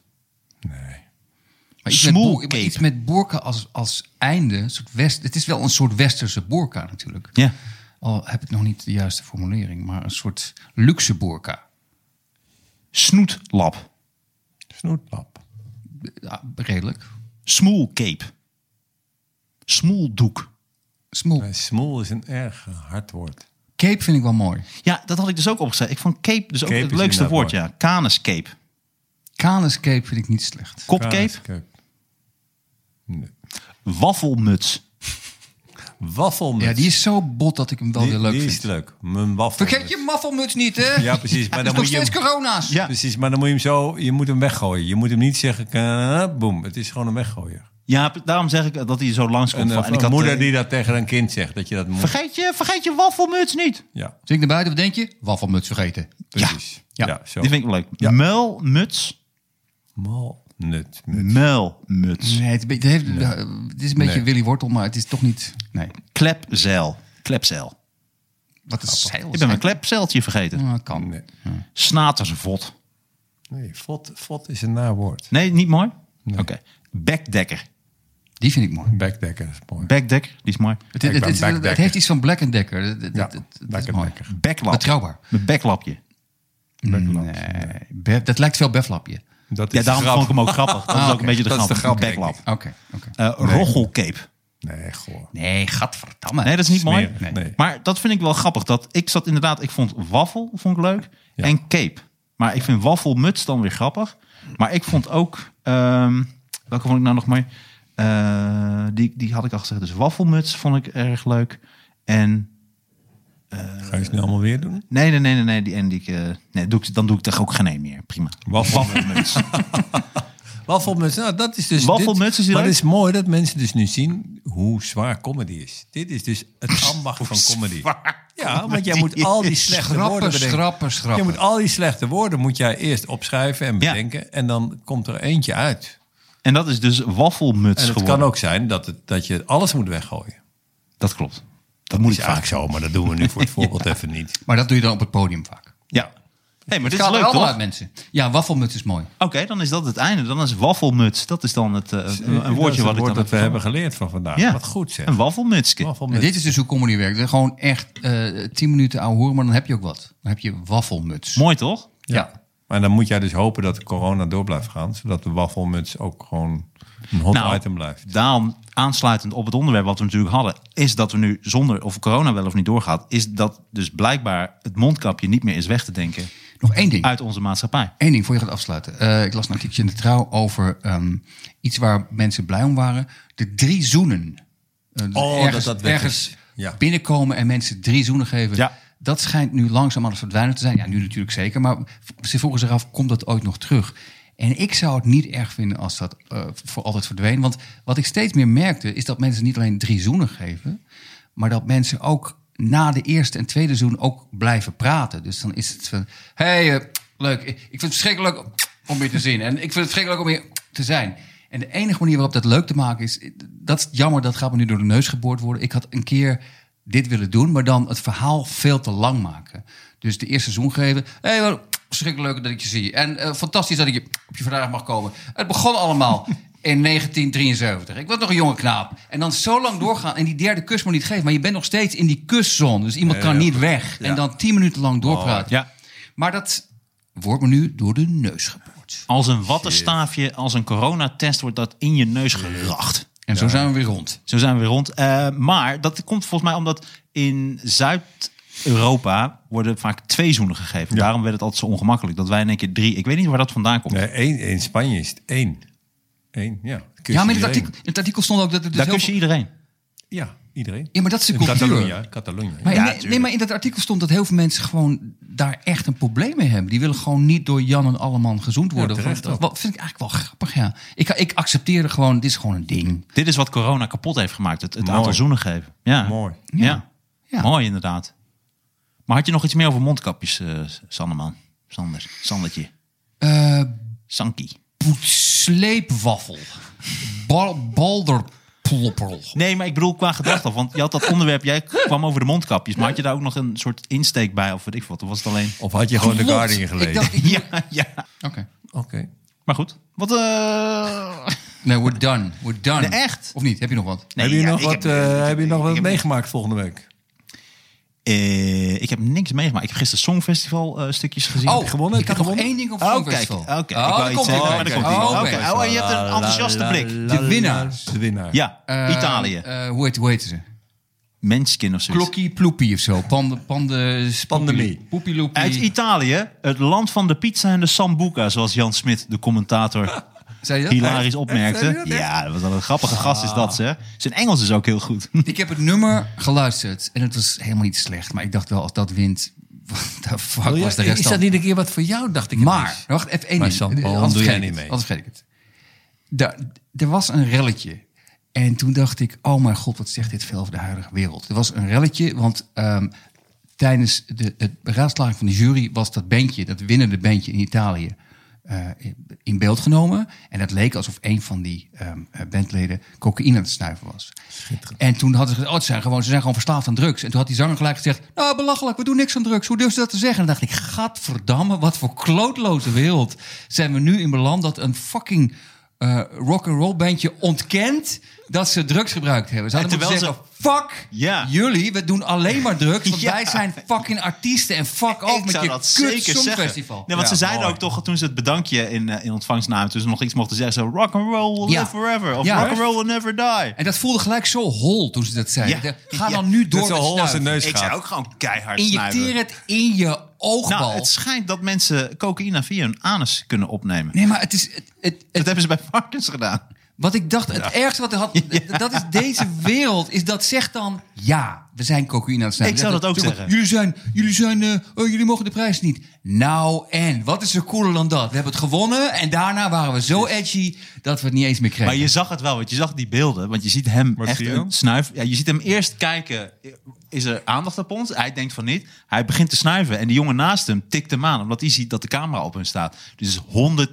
Nee. Maar iets met, Small boer- maar cape. iets met boerka als, als einde. een Soort west, het is wel een soort westerse boerka natuurlijk. Ja. Al heb ik nog niet de juiste formulering. Maar een soort luxe boerka. Snoetlap. Snoetlap. Ja, redelijk. Smoelcape. Smoeldoek. Small Nee, smoel is een erg hard woord. cape vind ik wel mooi. Ja, dat had ik dus ook opgezet. Ik vond cape dus ook Cape het is leukste inderdaad woord, mooi. ja. Canescape. Canescape vind ik niet slecht. Kopcape. Kaascape. Nee. Waffelmuts. Waffelmuts. Ja, die is zo bot dat ik hem wel Die- weer leuk die vind. is leuk. Mijn waffelmuts. Vergeet je maffelmuts niet, hè? Ja, precies, Het maar is dan nog moet je steeds hem- corona's. Ja. Precies, maar dan moet je hem zo... Je moet hem weggooien. Je moet hem niet zeggen... "Ah, Boem, het is gewoon een weggooien. Ja, daarom zeg ik dat hij zo Een, langskomt. eh, En, en ik een had, moeder eh, die dat tegen een kind zegt. Dat je dat moet... Vergeet je, vergeet je waffelmuts niet. Ja, Zing naar buiten, wat denk je? Waffelmuts vergeten. precies. Ja. Ja, Ja, zo. Die vind ik wel leuk. Ja. Muilmuts. Mal, nut. Muilmuts. Nee, het, be- het heeft, eh, het is een beetje Nee. Willy Wortel, maar het is toch niet... Nee. Klepzeil. Klepzeil. Wat is zeil? Ik ben mijn klepzeiltje vergeten. Ah, kan. Nee. Snatersvot. Nee, vod, vod is een naar woord. Nee, niet mooi? Oké. Backdekker. Die vind ik mooi. Backdekker is mooi. Backdekker, die is mooi. Het, het, ben het- het- backdekker. het heeft iets van Black Decker. Het, het- Ja, het- het- het is Black mooi. Decker. Backlap. Betrouwbaar. Mijn backlapje. Backlap. Nee, Be- dat lijkt veel beflapje. Ah, Dat is Ja, daarom grap. Ah, vond ik hem ook (laughs) grappig. Dat is ook oké. een beetje de Dat is grap. de grap, denk Backlap. ik. Oké, oké. Eh, Rochelcape. Nee, goh. Nee, gadverdamme. Nee, dat is niet mooi. Smerig, nee. Maar dat vind ik wel grappig. Dat ik zat inderdaad, ik vond waffel vond ik leuk. En cape. Maar ik vind waffelmuts dan weer grappig. Maar ik vond ook, ehm, welke vond ik nou nog mooi? Eh, die, die had ik al gezegd. Dus waffelmuts vond ik erg leuk. En Ga je het nu allemaal weer doen? Nee, nee, nee, nee, nee. Die, en die, ik, eh, nee doe ik, dan doe ik toch ook geen één meer. Prima. Waffelmuts. Waffelmuts, nou dat is dus... Waffelmuts dit- is die Maar leuk? het is mooi dat mensen dus nu zien hoe zwaar comedy is. Dit is dus het ambacht van comedy. Ja, want jij moet al (laughs) die slechte Schrappen, woorden bedenken. schrappen, schrappen. Je moet al die slechte woorden moet jij eerst opschrijven en Ja. bedenken. En dan komt er eentje uit. (laughs) en dat is dus waffelmuts En het geworden. kan ook zijn dat, het, dat je alles moet weggooien. Dat klopt. Dat, moet is ik vaak. eigenlijk zo, (laughs) maar dat doen we nu voor het voorbeeld even niet. Maar dat doe je dan op het podium vaak. Ja. hey, maar dit Het is gaat er leuk, allemaal toch? uit, Oké, mensen. Ja, waffelmuts is mooi. dan is dat het einde. Dan is waffelmuts. Dat is dan het, eh, een- een Dus, Dat is woordje het wat ik woord dan dat we heb hebben geleerd van vandaag. Ja. Wat goed zeg. Een waffelmutsje. Waffelmuts. En dit is dus hoe comedy werkt. Gewoon echt eh, tien minuten ouwe horen, maar dan heb je ook wat. Dan heb je waffelmuts. Mooi, toch? Ja. Maar dan moet jij dus hopen dat corona door blijft gaan. Zodat de waffelmuts ook gewoon een hot item blijft. Nou, daarom aansluitend op het onderwerp wat we natuurlijk hadden... is dat we nu zonder of corona wel of niet doorgaat... is dat dus blijkbaar het mondkapje niet meer is weg te denken... Nog één ding. uit onze maatschappij. Eén ding voor je gaat afsluiten. Eh, ik las een artikeltje in de trouw over ehm, iets waar mensen blij om waren. De drie zoenen. Eh, dus Oh, dat dat weg ergens is. Ja. binnenkomen en mensen drie zoenen geven. Ja. Dat schijnt nu langzaam aan het verdwijnen te zijn. Ja, nu natuurlijk zeker. Maar ze vroegen zich af, komt dat ooit nog terug? En ik zou het niet erg vinden als dat eh, voor altijd verdween. Want wat ik steeds meer merkte, is dat mensen niet alleen drie zoenen geven... maar dat mensen ook na de eerste en tweede zoen ook blijven praten. Dus dan is het van, hé, hey, eh, leuk. Ik vind het verschrikkelijk leuk om je te zien. En ik vind het verschrikkelijk leuk om je te zijn. En de enige manier waarop dat leuk te maken is... dat is jammer, dat gaat me nu door de neus geboord worden. Ik had een keer dit willen doen, maar dan het verhaal veel te lang maken. Dus de eerste seizoen geven. Hé, hey, wel, verschrikkelijk leuk dat ik je zie. En eh, fantastisch dat ik je op je verjaardag mag komen. Het begon allemaal in 1973. Ik was nog een jonge knaap. En dan zo lang doorgaan en die derde kus moet niet geven. Maar je bent nog steeds in die kuszone. Dus iemand kan niet weg. En dan tien minuten lang doorpraten. Ja. Maar dat wordt me nu door de neus geboord. Als een wattenstaafje, als een coronatest wordt dat in je neus geracht. En zo zijn we weer rond. Zo zijn we weer rond. Eh, maar dat komt volgens mij omdat in Zuid-Europa worden vaak twee zoenen gegeven. Daarom werd het altijd zo ongemakkelijk. Dat wij in één keer drie... Ik weet niet waar dat vandaan komt. Nee, één, in Spanje is het één. Eén, ja. Kus Ja, maar in het, iedereen. artikel, in het artikel stond ook dat er dus Daar heel kus je veel- iedereen. Ja, iedereen. Ja, maar dat is de In cultuur. Catalonië, Catalonië. Maar Ja, nee, nee, maar in dat artikel stond dat heel veel mensen gewoon daar echt een probleem mee hebben. Die willen gewoon niet door Jan en Alleman gezoend worden. terecht dat ook. wat vind ik eigenlijk wel grappig, ja. Ik, ik accepteer er gewoon, dit is gewoon een ding. Dit is wat corona kapot heeft gemaakt. Het, het Mooi. aantal zoenen geven. Ja. Mooi. Ja. Ja. Mooi inderdaad. Maar had je nog iets meer over mondkapjes, eh Sanderman? Sander. Sandertje. Eh, Sanki. poet- sleepwaffel. Bal, balderplopperl. Nee, maar ik bedoel qua gedachte. al, Want je had dat onderwerp, jij kwam over de mondkapjes. Maar had je daar ook nog een soort insteek bij? Of weet ik wat? Of was het alleen... (laughs) Of had je gewoon de Klopt. Guardian Ik gelezen? dacht- Oké. Ja, ja. Maar goed. Wat... eh Nee, we're done. We're done. Nee, echt? Of niet? Heb je nog wat? Nee, heb je ja, nog ik wat, heb- eh, heb je nog wat ik heb- meegemaakt volgende week? eh, ik heb niks meegemaakt. Ik heb gisteren Songfestival eh, stukjes gezien. Oh, gewonnen? ik Heb had je nog gewonnen? één ding op Oh, kijk. Songfestival. Oké, ik Oh, wou daar iets komt hij. zeggen, maar daar komt hij. Oh, Oké. oké. Oh, en je hebt een enthousiaste blik. De winnaars. De winnaar. Ja, Eh, Italië. eh, hoe, heet, hoe heet ze? Menskin of zoiets. Klokkie ploepie of zo. Panden, panden, Pandemie. Poepieloepie. Uit Italië, het land van de pizza en de sambuca, zoals Jan Smit, de commentator, (laughs) Zei je dat? hilarisch Echt, opmerkte. zei je dat Ja, wat een grappige gast is dat, zeg. Zijn Engels is ook heel goed. Ah. Ik heb het nummer geluisterd en het was helemaal niet slecht. Maar ik dacht wel, als dat wint, wat de Wil fuck je- was de rest is dat dan? niet een keer wat voor jou, dacht ik. Maar, ineens? wacht, even één Maar ding. Sam, Eh, waarom anders doe jij vergeet ik niet het, mee? Anders vergeet ik het. Daar- er was een relletje. En toen dacht ik, oh mijn god, wat zegt dit veel over de huidige wereld. Er was een relletje, want ehm, tijdens de, het raadslaging van de jury... was dat bandje, dat winnende bandje in Italië, eh, in beeld genomen. En het leek alsof een van die ehm, eh, bandleden cocaïne aan het snuiven was. En toen hadden ze gezegd, oh, ze zijn, gewoon, ze zijn gewoon verslaafd aan drugs. En toen had die zanger gelijk gezegd, nou belachelijk, we doen niks aan drugs. Hoe durf je dat te zeggen? En dan dacht ik, gadverdamme, wat voor klootloze wereld zijn we nu in beland... dat een fucking eh rock'n'roll bandje ontkent dat ze drugs gebruikt hebben. Ze hadden En moeten terwijl zeggen, fuck Ja. jullie, we doen alleen maar drugs... want (laughs) Ja. wij zijn fucking artiesten en fuck off met je kut songfestival. Nee, want Ja, ze zeiden mooi. ook toch toen ze het bedankje in, eh, in ontvangst namen, toen ze nog iets mochten zeggen, zo rock and roll will Ja. live forever of Ja. rock and roll will never die. En dat voelde gelijk zo hol toen ze dat zeiden. Ja. Ga Ja. dan nu door Met zo'n met hol als een snuiven. neus Ik gaat. zou ook gewoon keihard Injecteer snuiven. het in je oogbal. Nou, het schijnt dat mensen cocaïne via hun anus kunnen opnemen. Nee, maar het is. Het, het, Dat het- hebben ze bij varkens gedaan. wat ik dacht, het ergste wat ik (laughs) had. Dat is deze wereld. Is dat zegt dan. Ja, we zijn cocaïne aan het snijden. Ik zou dat ook Zeg maar, zeggen. Jullie zijn. Jullie zijn. eh, oh, jullie mogen de prijs niet. Nou, en wat is er cooler dan dat? We hebben het gewonnen. En daarna waren we zo edgy. dat we het niet eens meer kregen. Maar je zag het wel, want je zag die beelden. Want je ziet hem Wat echt zie je? een snuif. Ja, je ziet hem eerst kijken. Is er aandacht op ons? Hij denkt van niet. Hij begint te snuiven. En die jongen naast hem tikt hem aan. Omdat hij ziet dat de camera op hem staat. Dus 100%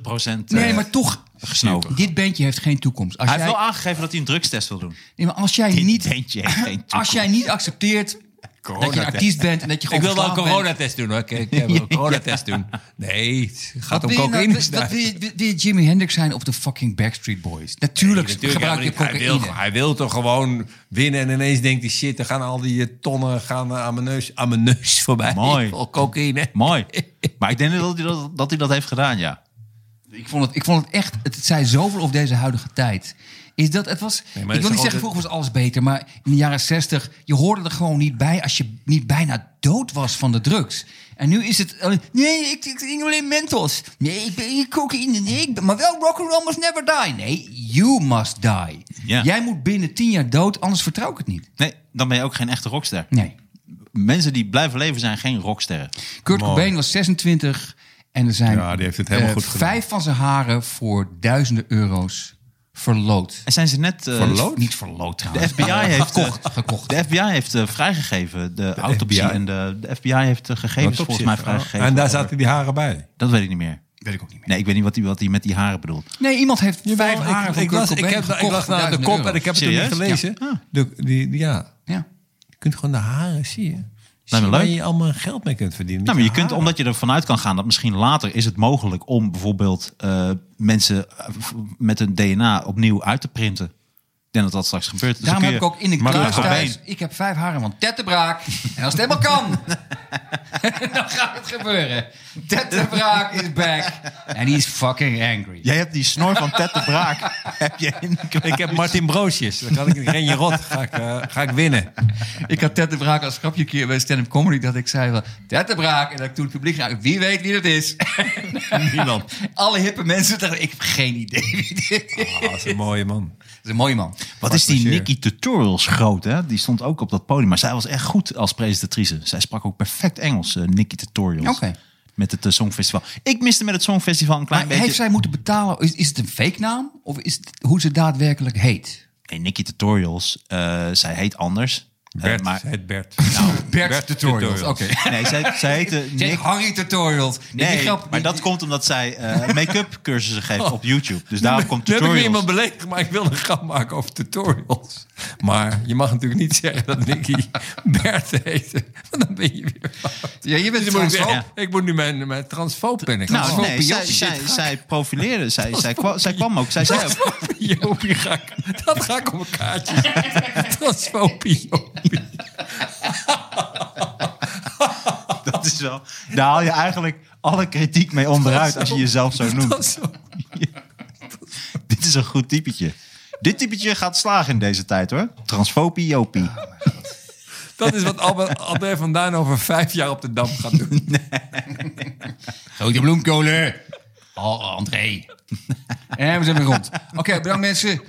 nee, eh, maar toch. gesnoven. Dit bandje heeft geen toekomst. Als Hij jij, heeft wel aangegeven dat hij een drugstest wil doen. nee, maar als jij niet. Eentje heeft geen (laughs) Als jij niet accepteert. dat je een artiest bent. en dat je Ik gewoon. wil wel een verslaafd bent. coronatest doen hoor. Kijk, ik wil een coronatest doen. Nee, het gaat om wil je nou- cocaïne. wat- wat snuiven. wil je- wil- wil je Jimi Hendrix zijn of de fucking Backstreet Boys? Natuurlijk, gebruik je hij wil, cocaïne. hij wil toch gewoon winnen en ineens denkt hij shit, er gaan al die eh, tonnen gaan eh, aan mijn neus, aan mijn neus (laughs) voorbij. Mooi. Ik wil Cocaïne. Mooi. Maar ik denk dat hij dat, dat hij dat heeft gedaan, ja. Ik vond, het, ik vond het echt, het zei zoveel over deze huidige tijd. Is dat, het was, maar ik wil het is niet zeggen altijd- vroeger was alles beter, maar in de jaren zestig, je hoorde er gewoon niet bij als je niet bijna dood was van de drugs. En nu is het, eh, nee, ik, ik drink alleen mentos. Nee, ik ben hier cocaïne. Nee, ik ben, maar wel rock'n'roll must never die. Nee, you must die. Ja. Jij moet binnen tien jaar dood, anders vertrouw ik het niet. Nee, dan ben je ook geen echte rockster. Nee. Mensen die blijven leven zijn geen rocksterren. Kurt Cobain was 26 en er zijn Ja, die heeft het helemaal eh, goed gedaan. vijf van zijn haren voor duizenden euro's verloot. En zijn ze net... eh, Verloot? Niet verloot trouwens. De FBI heeft gekocht. eh, gekocht. De FBI heeft eh, vrijgegeven de, autopsie FBI? en de, de FBI heeft de gegevens Wat op volgens mij zich. vrijgegeven. oh, En daar over- zaten die haren bij. Dat weet ik niet meer. Weet ik ook niet meer. Nee, ik weet niet wat hij wat die met die haren bedoelt. Nee, iemand heeft vijf Ik- haren ik, van Kurt las, ik, Cobain heb, ik gekocht las voor naar de duizenden kop en euro's. Ah. ik heb het toen niet Serieus? gelezen. Ja. Ah. De, die, die- ja. Ja. Je kunt gewoon de haren zien. Lijkt me Waar leuk. je allemaal geld mee kunt verdienen. Nou, maar Met je kunt, haren. omdat je ervan uit kan gaan dat misschien later is het mogelijk om bijvoorbeeld eh, mensen eh, v- met hun DNA opnieuw uit te printen. Ik denk dat dat straks gebeurt. Dus dan Daarom kun heb ik je- ook in de Maar- kluis Gordijn. thuis... Ik heb vijf haren van tettenbraak. En als het helemaal kan, (laughs) dan gaat het gebeuren. Tettenbraak is back. En he is fucking angry. Jij hebt die snor van Ted de (laughs) Braak. heb je in de kluis. Ik heb Martin Broosjes. Dan kan ik geen je rot. Ga ik, eh, ga ik winnen. (laughs) Ik had Ted de Braak als grapje een keer bij stand-up comedy... dat ik zei van, Ted de Braak. En dat ik toen het publiek raakte. Wie weet wie dat is? Niemand. (laughs) Alle hippe mensen dachten, ik heb geen idee wie dit is. Ah, dat is een mooie man. Dat is een mooie man. Wat is die Marcheer. Nikki Tutorials groot, hè? Die stond ook op dat podium. Maar zij was echt goed als presentatrice. Zij sprak ook perfect Engels, eh, Nikki Tutorials. Oké. Met het eh, Songfestival. Ik miste met het Songfestival een klein Maar beetje... heeft zij moeten betalen? Is, is het een fake naam? Of is het hoe ze daadwerkelijk heet? Nee, Nikki Tutorials, eh, zij heet anders. Eh, Bert, maar... het Bert. Bert, Bert Tutorials. Tutorials. Oké. (laughs) Nee, zij, zij (laughs) heette Zeg Nick- Harry Tutorials. Nee, die grap, maar dat komt omdat zij eh, (laughs) make-up cursussen geeft op YouTube. Dus daarom komt Oh. Nu heb ik weer tutorials. iemand beledigd, maar ik wilde een grap maken over tutorials. Maar je mag natuurlijk niet zeggen dat (laughs) Nicky Bert heet. Want dan ben je weer... Ja, je bent Dus dan moet ik, transfoob. zeggen, ik moet nu mijn, mijn transfoob ben ik. Nou, Transfobie nee, zij, ook. zij, Shit. zij profileerde. Zij, zij, kwam, zij kwam ook. Zij zei (laughs) ook. (laughs) Transfobie, Jopie, ga ik- dat ga ik op een kaartje (laughs) zetten. Transfobie, Jopie. Dat is wel. Daar haal je eigenlijk alle kritiek mee onderuit als je jezelf zo noemt. Dat is zo- (laughs) Dit is een goed typetje. Dit typetje gaat slagen in deze tijd hoor. Transfopie Jopie. Dat is wat Albert, André van Duin over vijf jaar op de Dam gaat doen. Grote bloemkolen. Oh, André. (laughs) En we zijn weer rond. Oké, bedankt mensen.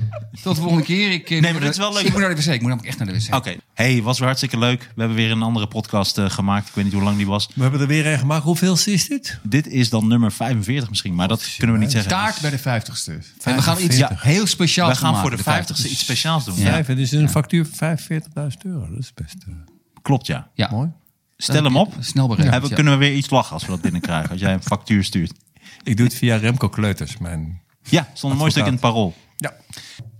Tot de volgende keer. Ik, nee, maar dit is wel leuk. Ik moet naar de wc. Ik moet namelijk echt naar de wc. Oké. Hey, was weer hartstikke leuk. We hebben weer een andere podcast eh, gemaakt. Ik weet niet hoe lang die was. We hebben er weer een gemaakt. Hoeveel is dit? Dit is dan nummer 45 misschien, maar dat kunnen we niet zeggen. Taart bij de vijftigste. En we gaan iets Ja. heel speciaals We gaan maken voor de 50ste 50ste. iets speciaals doen. Vijf, het is een factuur van 45.000 euro. Dat is best eh, Klopt ja. Ja. mooi. Stel hem op. Snel berekend. Hebben, ja. Kunnen we weer iets lachen als we dat binnenkrijgen? Als jij een factuur stuurt. Ik doe het via Remco Kleuters, mijn... Ja, stond een mooi stuk in het parool. Ja.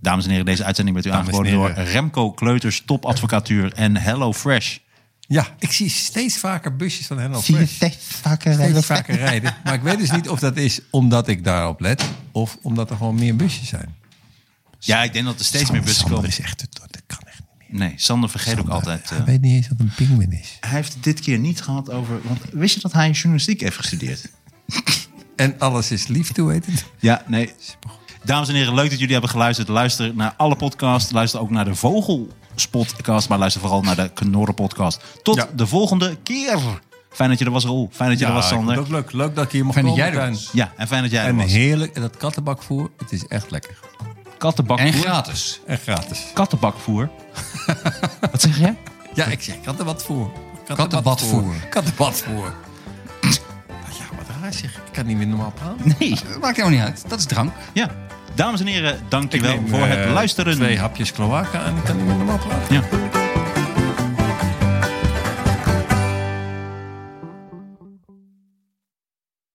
Dames en heren, deze uitzending werd u Dames en aangeboden door heren. Remco Kleuters, topadvocatuur en Hello Fresh. Ja, ik zie steeds vaker busjes van Hello Fresh. steeds vaker rijden. Maar ik weet dus niet of dat is omdat ik daarop let... of omdat er gewoon meer busjes zijn. Ja, ik denk dat er steeds meer bussen Sander komen. is echt... het- Dat kan echt niet meer. Nee, Sander vergeet ook altijd. eh, Hij weet niet eens wat een pinguïn is. hij heeft het dit keer niet gehad over... Want wist je dat hij journalistiek heeft gestudeerd? En alles is liefde, hoe heet het? Ja, nee. Dames en heren, leuk dat jullie hebben geluisterd. Luister naar alle podcasts. Luister ook naar de Vogelspodcast. Maar luister vooral naar de Knorren podcast. Tot Ja. de volgende keer. Fijn dat je er was, Roel. Fijn dat je er was, Sander. ook leuk. Leuk dat je hier mocht Fijn dat jij komen, er Tuin. was. Ja, en fijn dat jij er En was. heerlijk. En dat kattenbakvoer, het is echt lekker. Kattenbak En gratis. En gratis. kattenbakvoer. Wat zeg jij? Ja, ik zeg kattenbadvoer. Kattenbadvoer. Kattenbadvoer. ja, wat raar zeg. Ik kan niet meer normaal praten. Nee. Dat maakt helemaal niet uit. Dat is drank. Ja. Dames en heren, Ik dankjewel neem, voor eh, het luisteren. Twee hapjes kloaka en ik kan niet meer normaal praten. Ja.